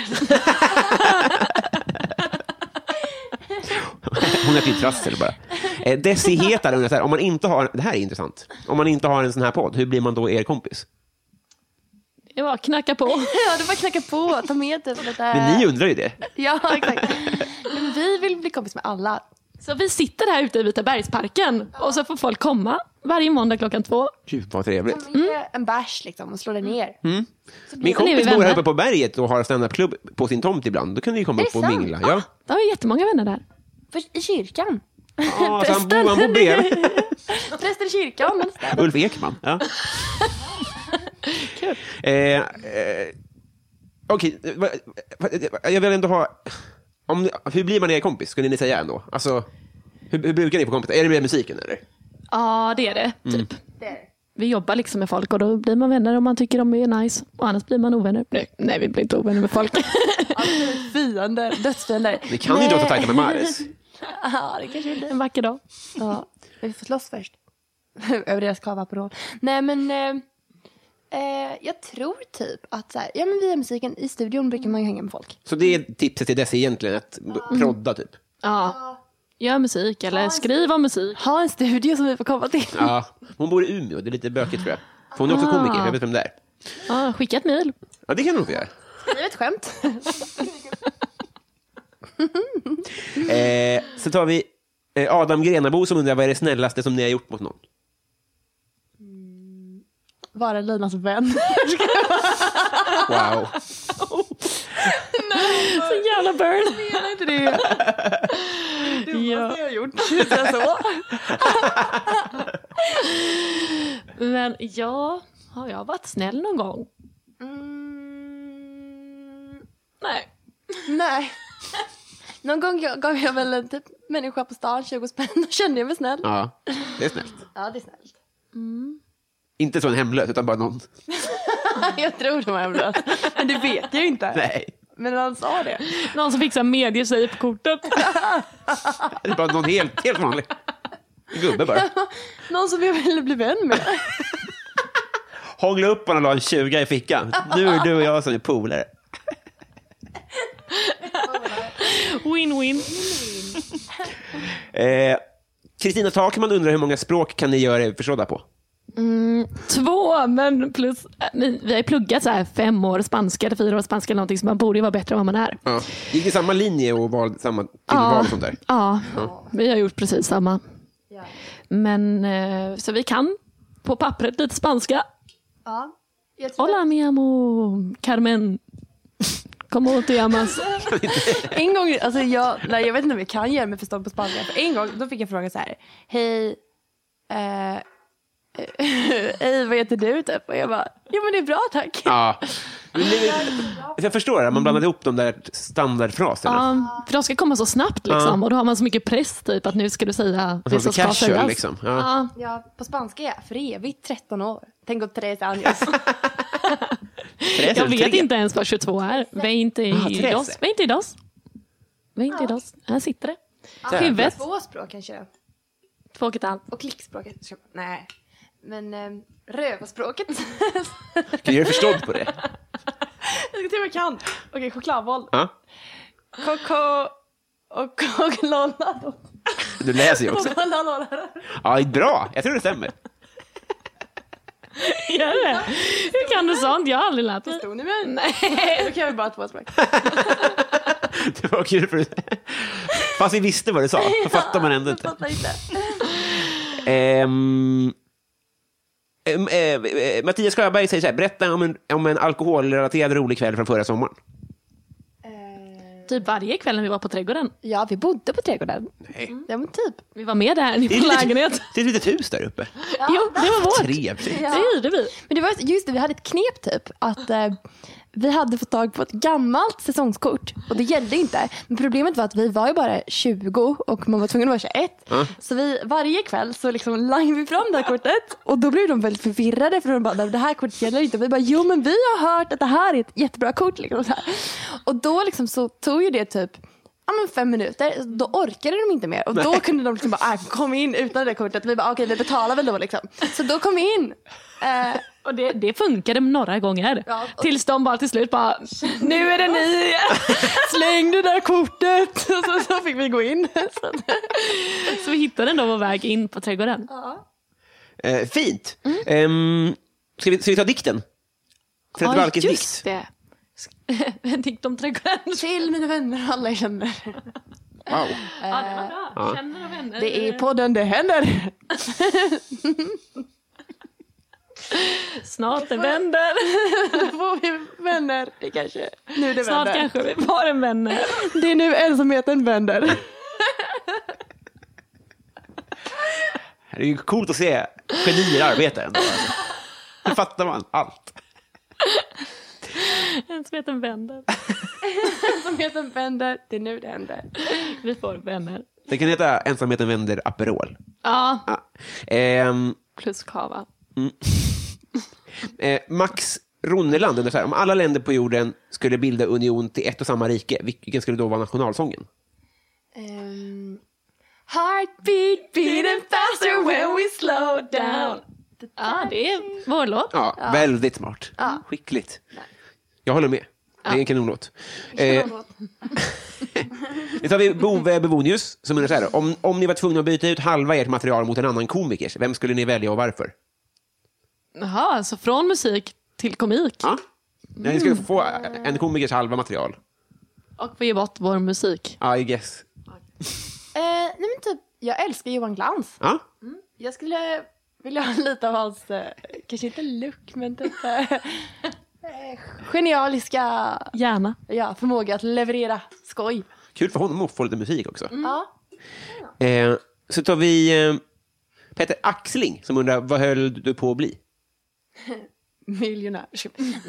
hon heter ju Trassel bara. Eh, Desi Hetar undrar så här, om man inte har, det här är intressant, om man inte har en sån här podd, hur blir man då er kompis? Det var knacka på. ja, du bara knacka på. Ta med typ lite... Men ni undrar ju det. Ja, exakt. Men vi vill bli kompis med alla. Så vi sitter här ute i Vita bergsparken och så får folk komma varje måndag klockan två. Gud, vad trevligt. Mm. En bärs liksom och slå dig ner. Min Sen är vi kompis bor här vänner. uppe på berget och har standupklubb på sin tomt ibland. Då kan ni ju komma Är upp det och sant? mingla. Ja. Då har vi jättemånga vänner där. Först i kyrkan. Ja, så han bor, han bor bredvid. Prästen i kyrkan. men- Ulf Ekman. Ja. eh, eh, Okej, va- va- va- jag vill ändå ha... Om, ni- hur blir man er kompis, skulle ni säga ändå? Alltså, hur, hur brukar ni få kompis? Är det med musiken eller? Ja, det är det. Mm. Typ. Vi jobbar liksom med folk och då blir man vänner om man tycker de är nice. Och annars blir man ovänner. Nej, nej vi blir inte ovänner med folk. Fiender. Dödsfiender. Ni kan ju inte vara så tajta med Maris. Ja, det kanske en vacker dag. Ja, men vi får slåss först. Över deras kavaparol. Nej men, eh, eh, jag tror typ att så här, ja men via musiken, i studion brukar man ju hänga med folk. Så det är tipset till Desi egentligen, att b- Mm. prodda typ. Ja. Gör musik eller skriv om musik. Ha en studio som vi får komma till. Ja. Hon bor i Umeå, det är lite bökigt tror jag. För hon är Ah. också komiker, jag vet vem det är. Ja, skicka ett mejl. Ja, det kan hon nog få göra. Det är ett skämt. Eh, så tar vi eh, Adam Grenabo som undrar vad är det snällaste som ni har gjort mot någon? Vara Linas vän. Wow. Så jävla burn. Menar inte det? Ja. har gjort. Men ja, har jag varit snäll någon gång? Mm, Nej. nej. Någon gång jag- gav jag väl en typ människa på stan 20 spänn. Då kände jag mig snäll. Ja, det är snällt. Ja, det är snällt. Inte så en hemlös, utan bara någon. Jag tror det var hemlös. Men det vet jag ju inte. Nej, Men han sa det. Någon som fixar medier på kortet. det är bara någon helt, helt vanlig. En gubbe bara. Någon som jag ville bli vän med. Hångla upp honom och la en 20 i fickan. Nu är du och jag som är polare. Win-win. Eh, Kristina Takman undrar hur många språk kan ni göra er förstådda på? Två, men plus... äh, men Vi har ju pluggat så här fem år spanska eller fyra år spanska eller någonting, så man borde ju vara bättre än vad man är. Ja. Gick i samma linje och val, samma tillval och sånt där? Ja, Mm. vi har gjort precis samma. Men eh, så vi kan på pappret lite spanska. Ja. Jag tror Hola mi amo Carmen. Como te llamas? att en gång, alltså jag, nej, jag vet inte om jag kan göra mig förstådd på spanska. För en gång då fick jag frågan så här. Hej, eh, hej vad heter du typ? Och jag bara, jo men det är bra tack. Ja. Men det- Jag förstår det, man blandade ihop de där standardfraserna. Ja, för de ska komma så snabbt liksom. Och då har man så mycket press typ att nu ska du säga Och Alltså, så var det det som ska casual sägas. liksom. Ja. Ja, Ja, på spanska ja, för evigt 13 år. Tänk åt Therese Anjos. Tres jag eller vet tre? inte ens vad 22 är. Veinte Therese. i dos. Veinte i dos. Veinte i dos. Här sitter det. Huvudet. Två språk kanske jag. Två och ett halvt. Och klickspråket. ska- Nej. Men eh, rövarspråket. Kan du göra dig förstådd på det? jag ska se vad jag kan. Okej, chokladboll. Ja. Koko och kokolonado. Du läser ju också. Kokolonado. Ja, bra, jag tror det stämmer. Gör det? Hur kan du sånt? Jag har aldrig lärt mig. Förstod ni mig? Nej. Då kan vi bara två språk. Det var kul för Fast vi visste vad du sa, så fattar man ändå inte. Fattar inte. Ehm, ehm, ehm, eh, Mattias Sjöberg säger så här, berätta om en, om en alkoholrelaterad rolig kväll från förra sommaren. Eh, Typ varje kväll när vi var på trädgården. Ja, vi bodde på trädgården. Nej. Ja, men typ. Vi var med där i vår lägenhet. det är Mm. ett litet hus där uppe. Jo, det var vårt. Trevligt. Det hyrde vi. Men det var just det, vi hade ett knep typ. Att eh, vi hade fått tag på ett gammalt säsongskort och det gällde inte. Men problemet var att vi var ju bara 20 och man var tvungen att vara 21. Så vi, varje kväll så liksom langade vi fram det här kortet och då blev de väldigt förvirrade för de bara, "Nej, det här kortet gäller inte. Och vi bara, jo men vi har hört att det här är ett jättebra kort. Liksom, så här. Och då liksom så tog ju det typ ja, men fem minuter, då orkade de inte mer. Och då kunde de liksom bara, ah, kom in utan det där kortet. Vi bara, okej vi betalar väl då liksom. Så då kom vi in. Eh, Och det, det funkade några gånger. Ja, och- Tills de bara till slut bara, nu är det ni! släng det där kortet! Så, så fick vi gå in. Så, Så vi hittade ändå vår väg in på trädgården. Eh, fint. Ehm, ska, vi, ska vi ta dikten? För att Ja, Valkes just dikt. det. En dikt om trädgården. till mina vänner och alla jag känner. Wow. Ja, det var bra. Känner och vänner. Det är podden det händer. Snart det vänder. Då får vi vänner. Det kanske, nu det Snart vänder. kanske vi får en vän. Det är nu ensamheten vänder. Det är ju coolt att se genier arbeta ändå. Alltså. Nu fattar man allt. En som heter Vänder. Ensamheten vänder, det är nu det händer. Vi får vänner. Det kan heta Ensamheten vänder Aperol. Ja, Ja. Ehm, plus kava. eh, Max Ronneland undrar så här, om alla länder på jorden skulle bilda union till ett och samma rike, vilken skulle då vara nationalsången? Um, heartbeat beating faster when we slow down. Ja, det är vår låt. Ja, Väldigt smart. Skickligt. Jag håller med. Det är en kanonlåt. Eh, Nu tar vi Bove Bevonius som undrar så här. Om, om ni var tvungna att byta ut halva ert material mot en annan komikers, vem skulle ni välja och varför? Jaha, så från musik till komik. Ja. Nej, ni skulle få en komikers halva material. Och vi ger bort vår musik. I guess. Eh, nej men typ, jag älskar Johan Glans. Ja. Jag skulle vilja ha lite av hans, eh, kanske inte look, men typ eh, eh, genialiska Gärna. ja, förmåga att leverera skoj. Kul för honom att få lite musik också. Ja. Eh, så tar vi eh, Peter Axling som undrar, vad höll du på att bli? Miljonär.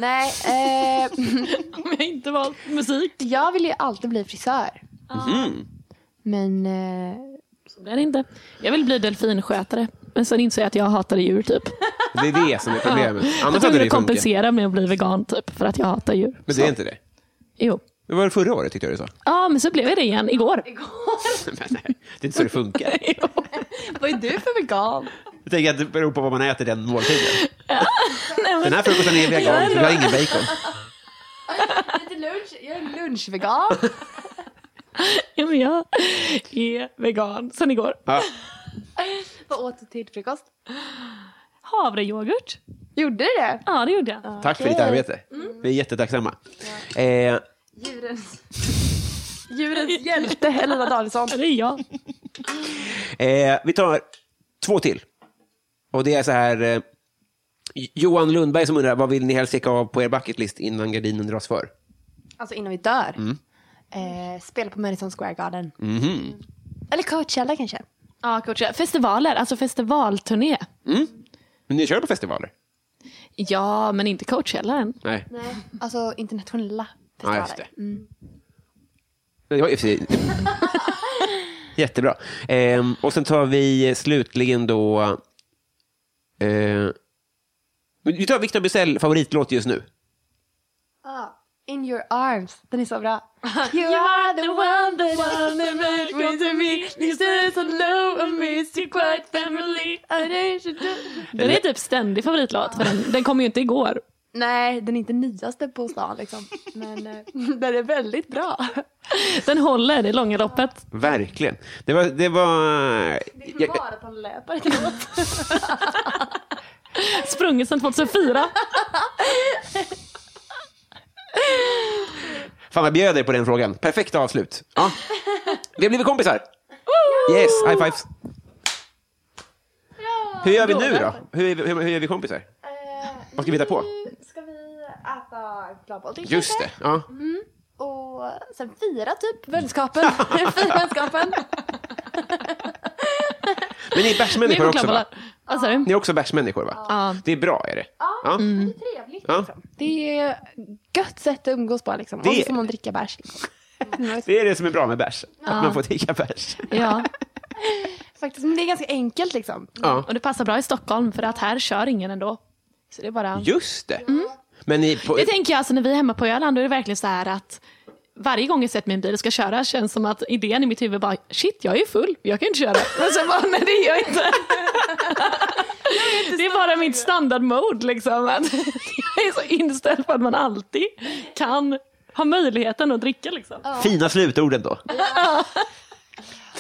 Nej, eh, Om jag inte valt musik. jag vill ju alltid bli frisör. Men eh, Så det är det inte. Jag vill bli delfinskötare. Men sen insåg jag att jag hatade djur typ. Det är det som är problemet. Jag Annars hade tvungen det ju att funkat. kompensera med att bli vegan typ. För att jag hatar djur. Men det är inte det. Jo. Det var det förra året tyckte jag du sa. Ja, men så blev jag det igen igår. Men nej, det är inte så det funkar. vad är du för vegan? Jag tänker att det beror på vad man äter den måltiden. Den här frukosten är vegan, vi har ingen bacon. Lite lunch, jag är lunchvegan. Ja, men jag är vegan sen igår. Ja. vad åt du till frukost? Havrejoghurt. Gjorde du det? Ja, det gjorde jag. Tack för ditt arbete. Mm. Vi är jättetacksamma. Eh, Djurens, djurens hjälte Helena Danielsson. Det är jag. eh, vi tar två till. Och det är så här... Eh, Johan Lundberg som undrar, vad vill ni helst checka av på er bucketlist innan gardinen dras för? Alltså innan vi dör. Mm. Eh, spela på Madison Square Garden. Mhm. Eller Coachella kanske. Ja, coach. Festivaler, alltså typ. festivalturné. Men ni kör på festivaler? Ja, men inte Coachella än. Nej. Nej. Alltså internationella Ja, festivaler. Mm. just det. Det var ju i och för sig- Jättebra. Ehm, och sen tar vi slutligen då... Eh, vi tar Victor Bysell favoritlåt just nu. Ja. In your arms. Den är så bra. You are the one that I'm the right way to be. This is a low and miss you quite family. I don't should do- Den är typ ständig favoritlåt. För den, den kom ju inte igår. Nej, den är inte nyaste på stan liksom. Men eh, den är väldigt bra. Den håller i långa loppet. Verkligen. Det var... Det var jag, Maratonlöpare till låt. Sprungit sedan 2004. fan, vad bjöd er på den frågan. Perfekt avslut. Ja. Vi har blivit kompisar. Yes, high fives. Hur gör vi nu då? Hur, är vi- hur, hur gör vi kompisar? Eh, Vad ska vi hitta på? Ska vi äta gladboll till Just det. Ja. Och och sen fira typ vänskapen. fira vänskapen. Men ni är bärsmänniskor också, va? Vad sa du? Ni är också bärsmänniskor, va? Ja. Det är bra, är det? Ja, men det är trevligt. Ja. Liksom. Det är gött sätt att umgås på liksom. Det- Och så får man dricka bärs. Mm, Det är det som är bra med bärs. Att man får dricka bärs. Ja. Faktiskt, men det är ganska enkelt liksom. Ja. Och det passar bra i Stockholm för att här kör ingen ändå. Så det är bara... Just det. Men ni, på, Mm. Det tänker jag alltså när vi är hemma på Öland, då är det verkligen så här att varje gång jag sätter min bil och ska köra känns som att idén i mitt huvud bara shit jag är ju full, jag kan ju inte köra. Men sen bara nej det är jag inte. Det är bara mitt standardmode liksom. Att jag är så inställd på att man alltid kan ha möjligheten att dricka liksom. Fina slutorden då.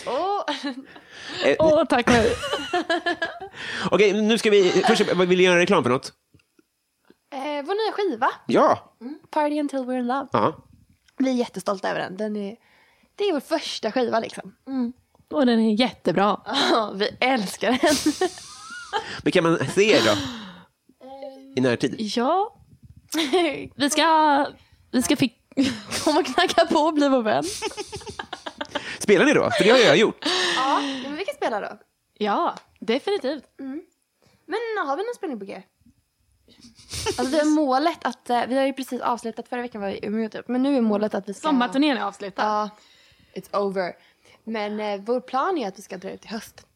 Och, Eh, Åh tack nej. Okej, nu ska vi... Först, vad vill ni göra reklam för något? eh, vår nya skiva, Ja. Party Until We're In Love. ja. Vi är jättestolta över den. den är, det är vår första skiva liksom. Mm. Och den är jättebra. Ja, vi älskar den. Men kan man se er då? I närtid? Ja, vi ska, vi ska fick... Kom och knacka på och bli vår vän. Spelar ni då? För det har jag gjort. Ja, men vi kan spela då. Ja, definitivt. Men har vi någon spelning på G? Alltså vi har målet att, eh, vi har ju precis avslutat, förra veckan var vi i Umeå typ, men nu är målet att vi ska... Sommarturnén är avslutad. Ja, it's over. Men eh, vår plan är att vi ska dra ut i höst.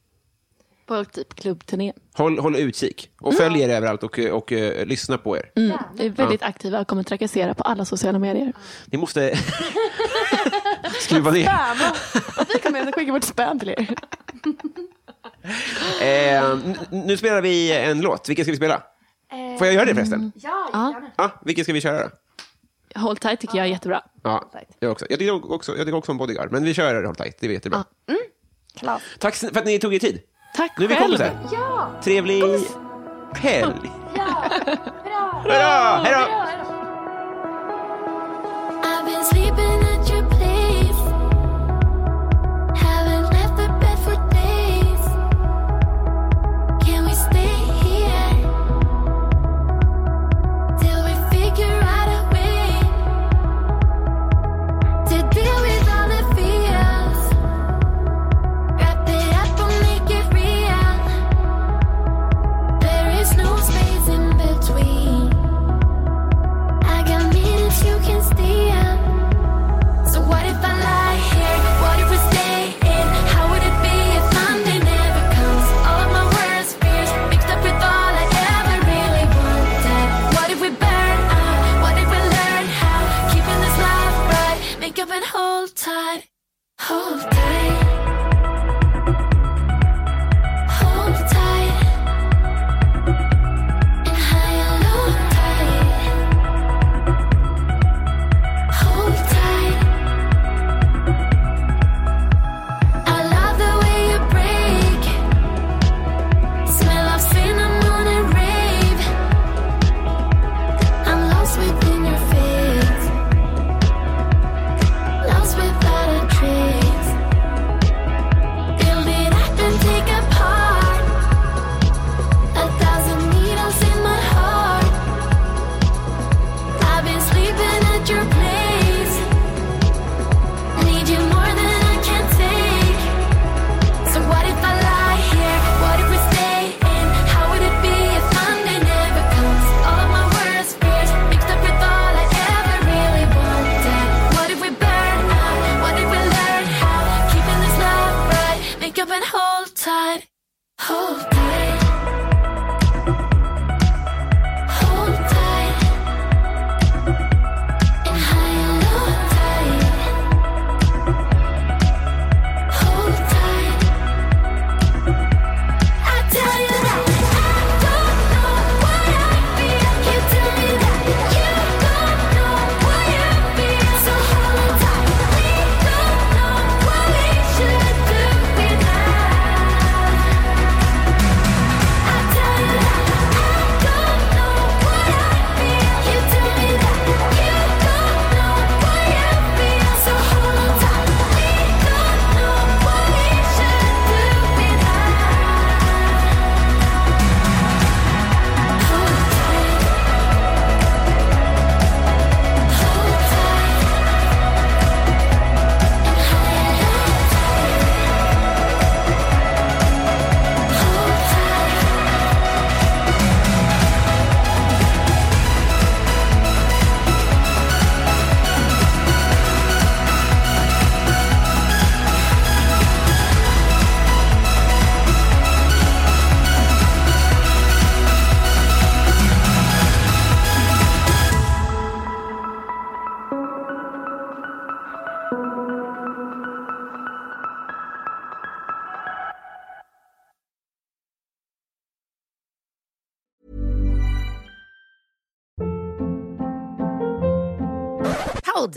På typ klubbturné. Håll, håll utkik. Och följ er överallt och, och, eh, lyssna på er. Mm. Vi är väldigt aktiva och kommer trakassera på alla sociala medier. Ni måste skruva ner. Vi kommer att skicka vårt spön till er. Eh, n- nu spelar vi en låt. Vilken ska vi spela? Får jag göra det förresten? Ja, Ja, vilken ska vi köra då? Håll tight tycker jag är jättebra. Ja, jag också. Jag tycker också, jag tycker också om Bodyguard, men vi kör Håll tight. Det blir jättebra. klart. Tack sn- för att ni tog er tid. Tack Nu är vi själv. kompisar. Ja, Trevlig helg. bra! Hurra! Hej då! I've been sleeping at your place. Haven't left the bed for days. Can we stay here till we figure out a way to deal with all the fears? Wrap it up and make it real. There is no space in between. I got minutes you can steal. So what if I lie here? What if we stay in? How would it be if Monday never comes? All of my worst fears mixed up with all I ever really wanted. What if we burn out? What if we learn how? Keeping this life right, make up and hold tight, hold tight, hold tight, and high and low tight. Hold tight. I love the way you break. Smell of cinnamon and rave. I'm lost within your face. Lost without a trace. Hold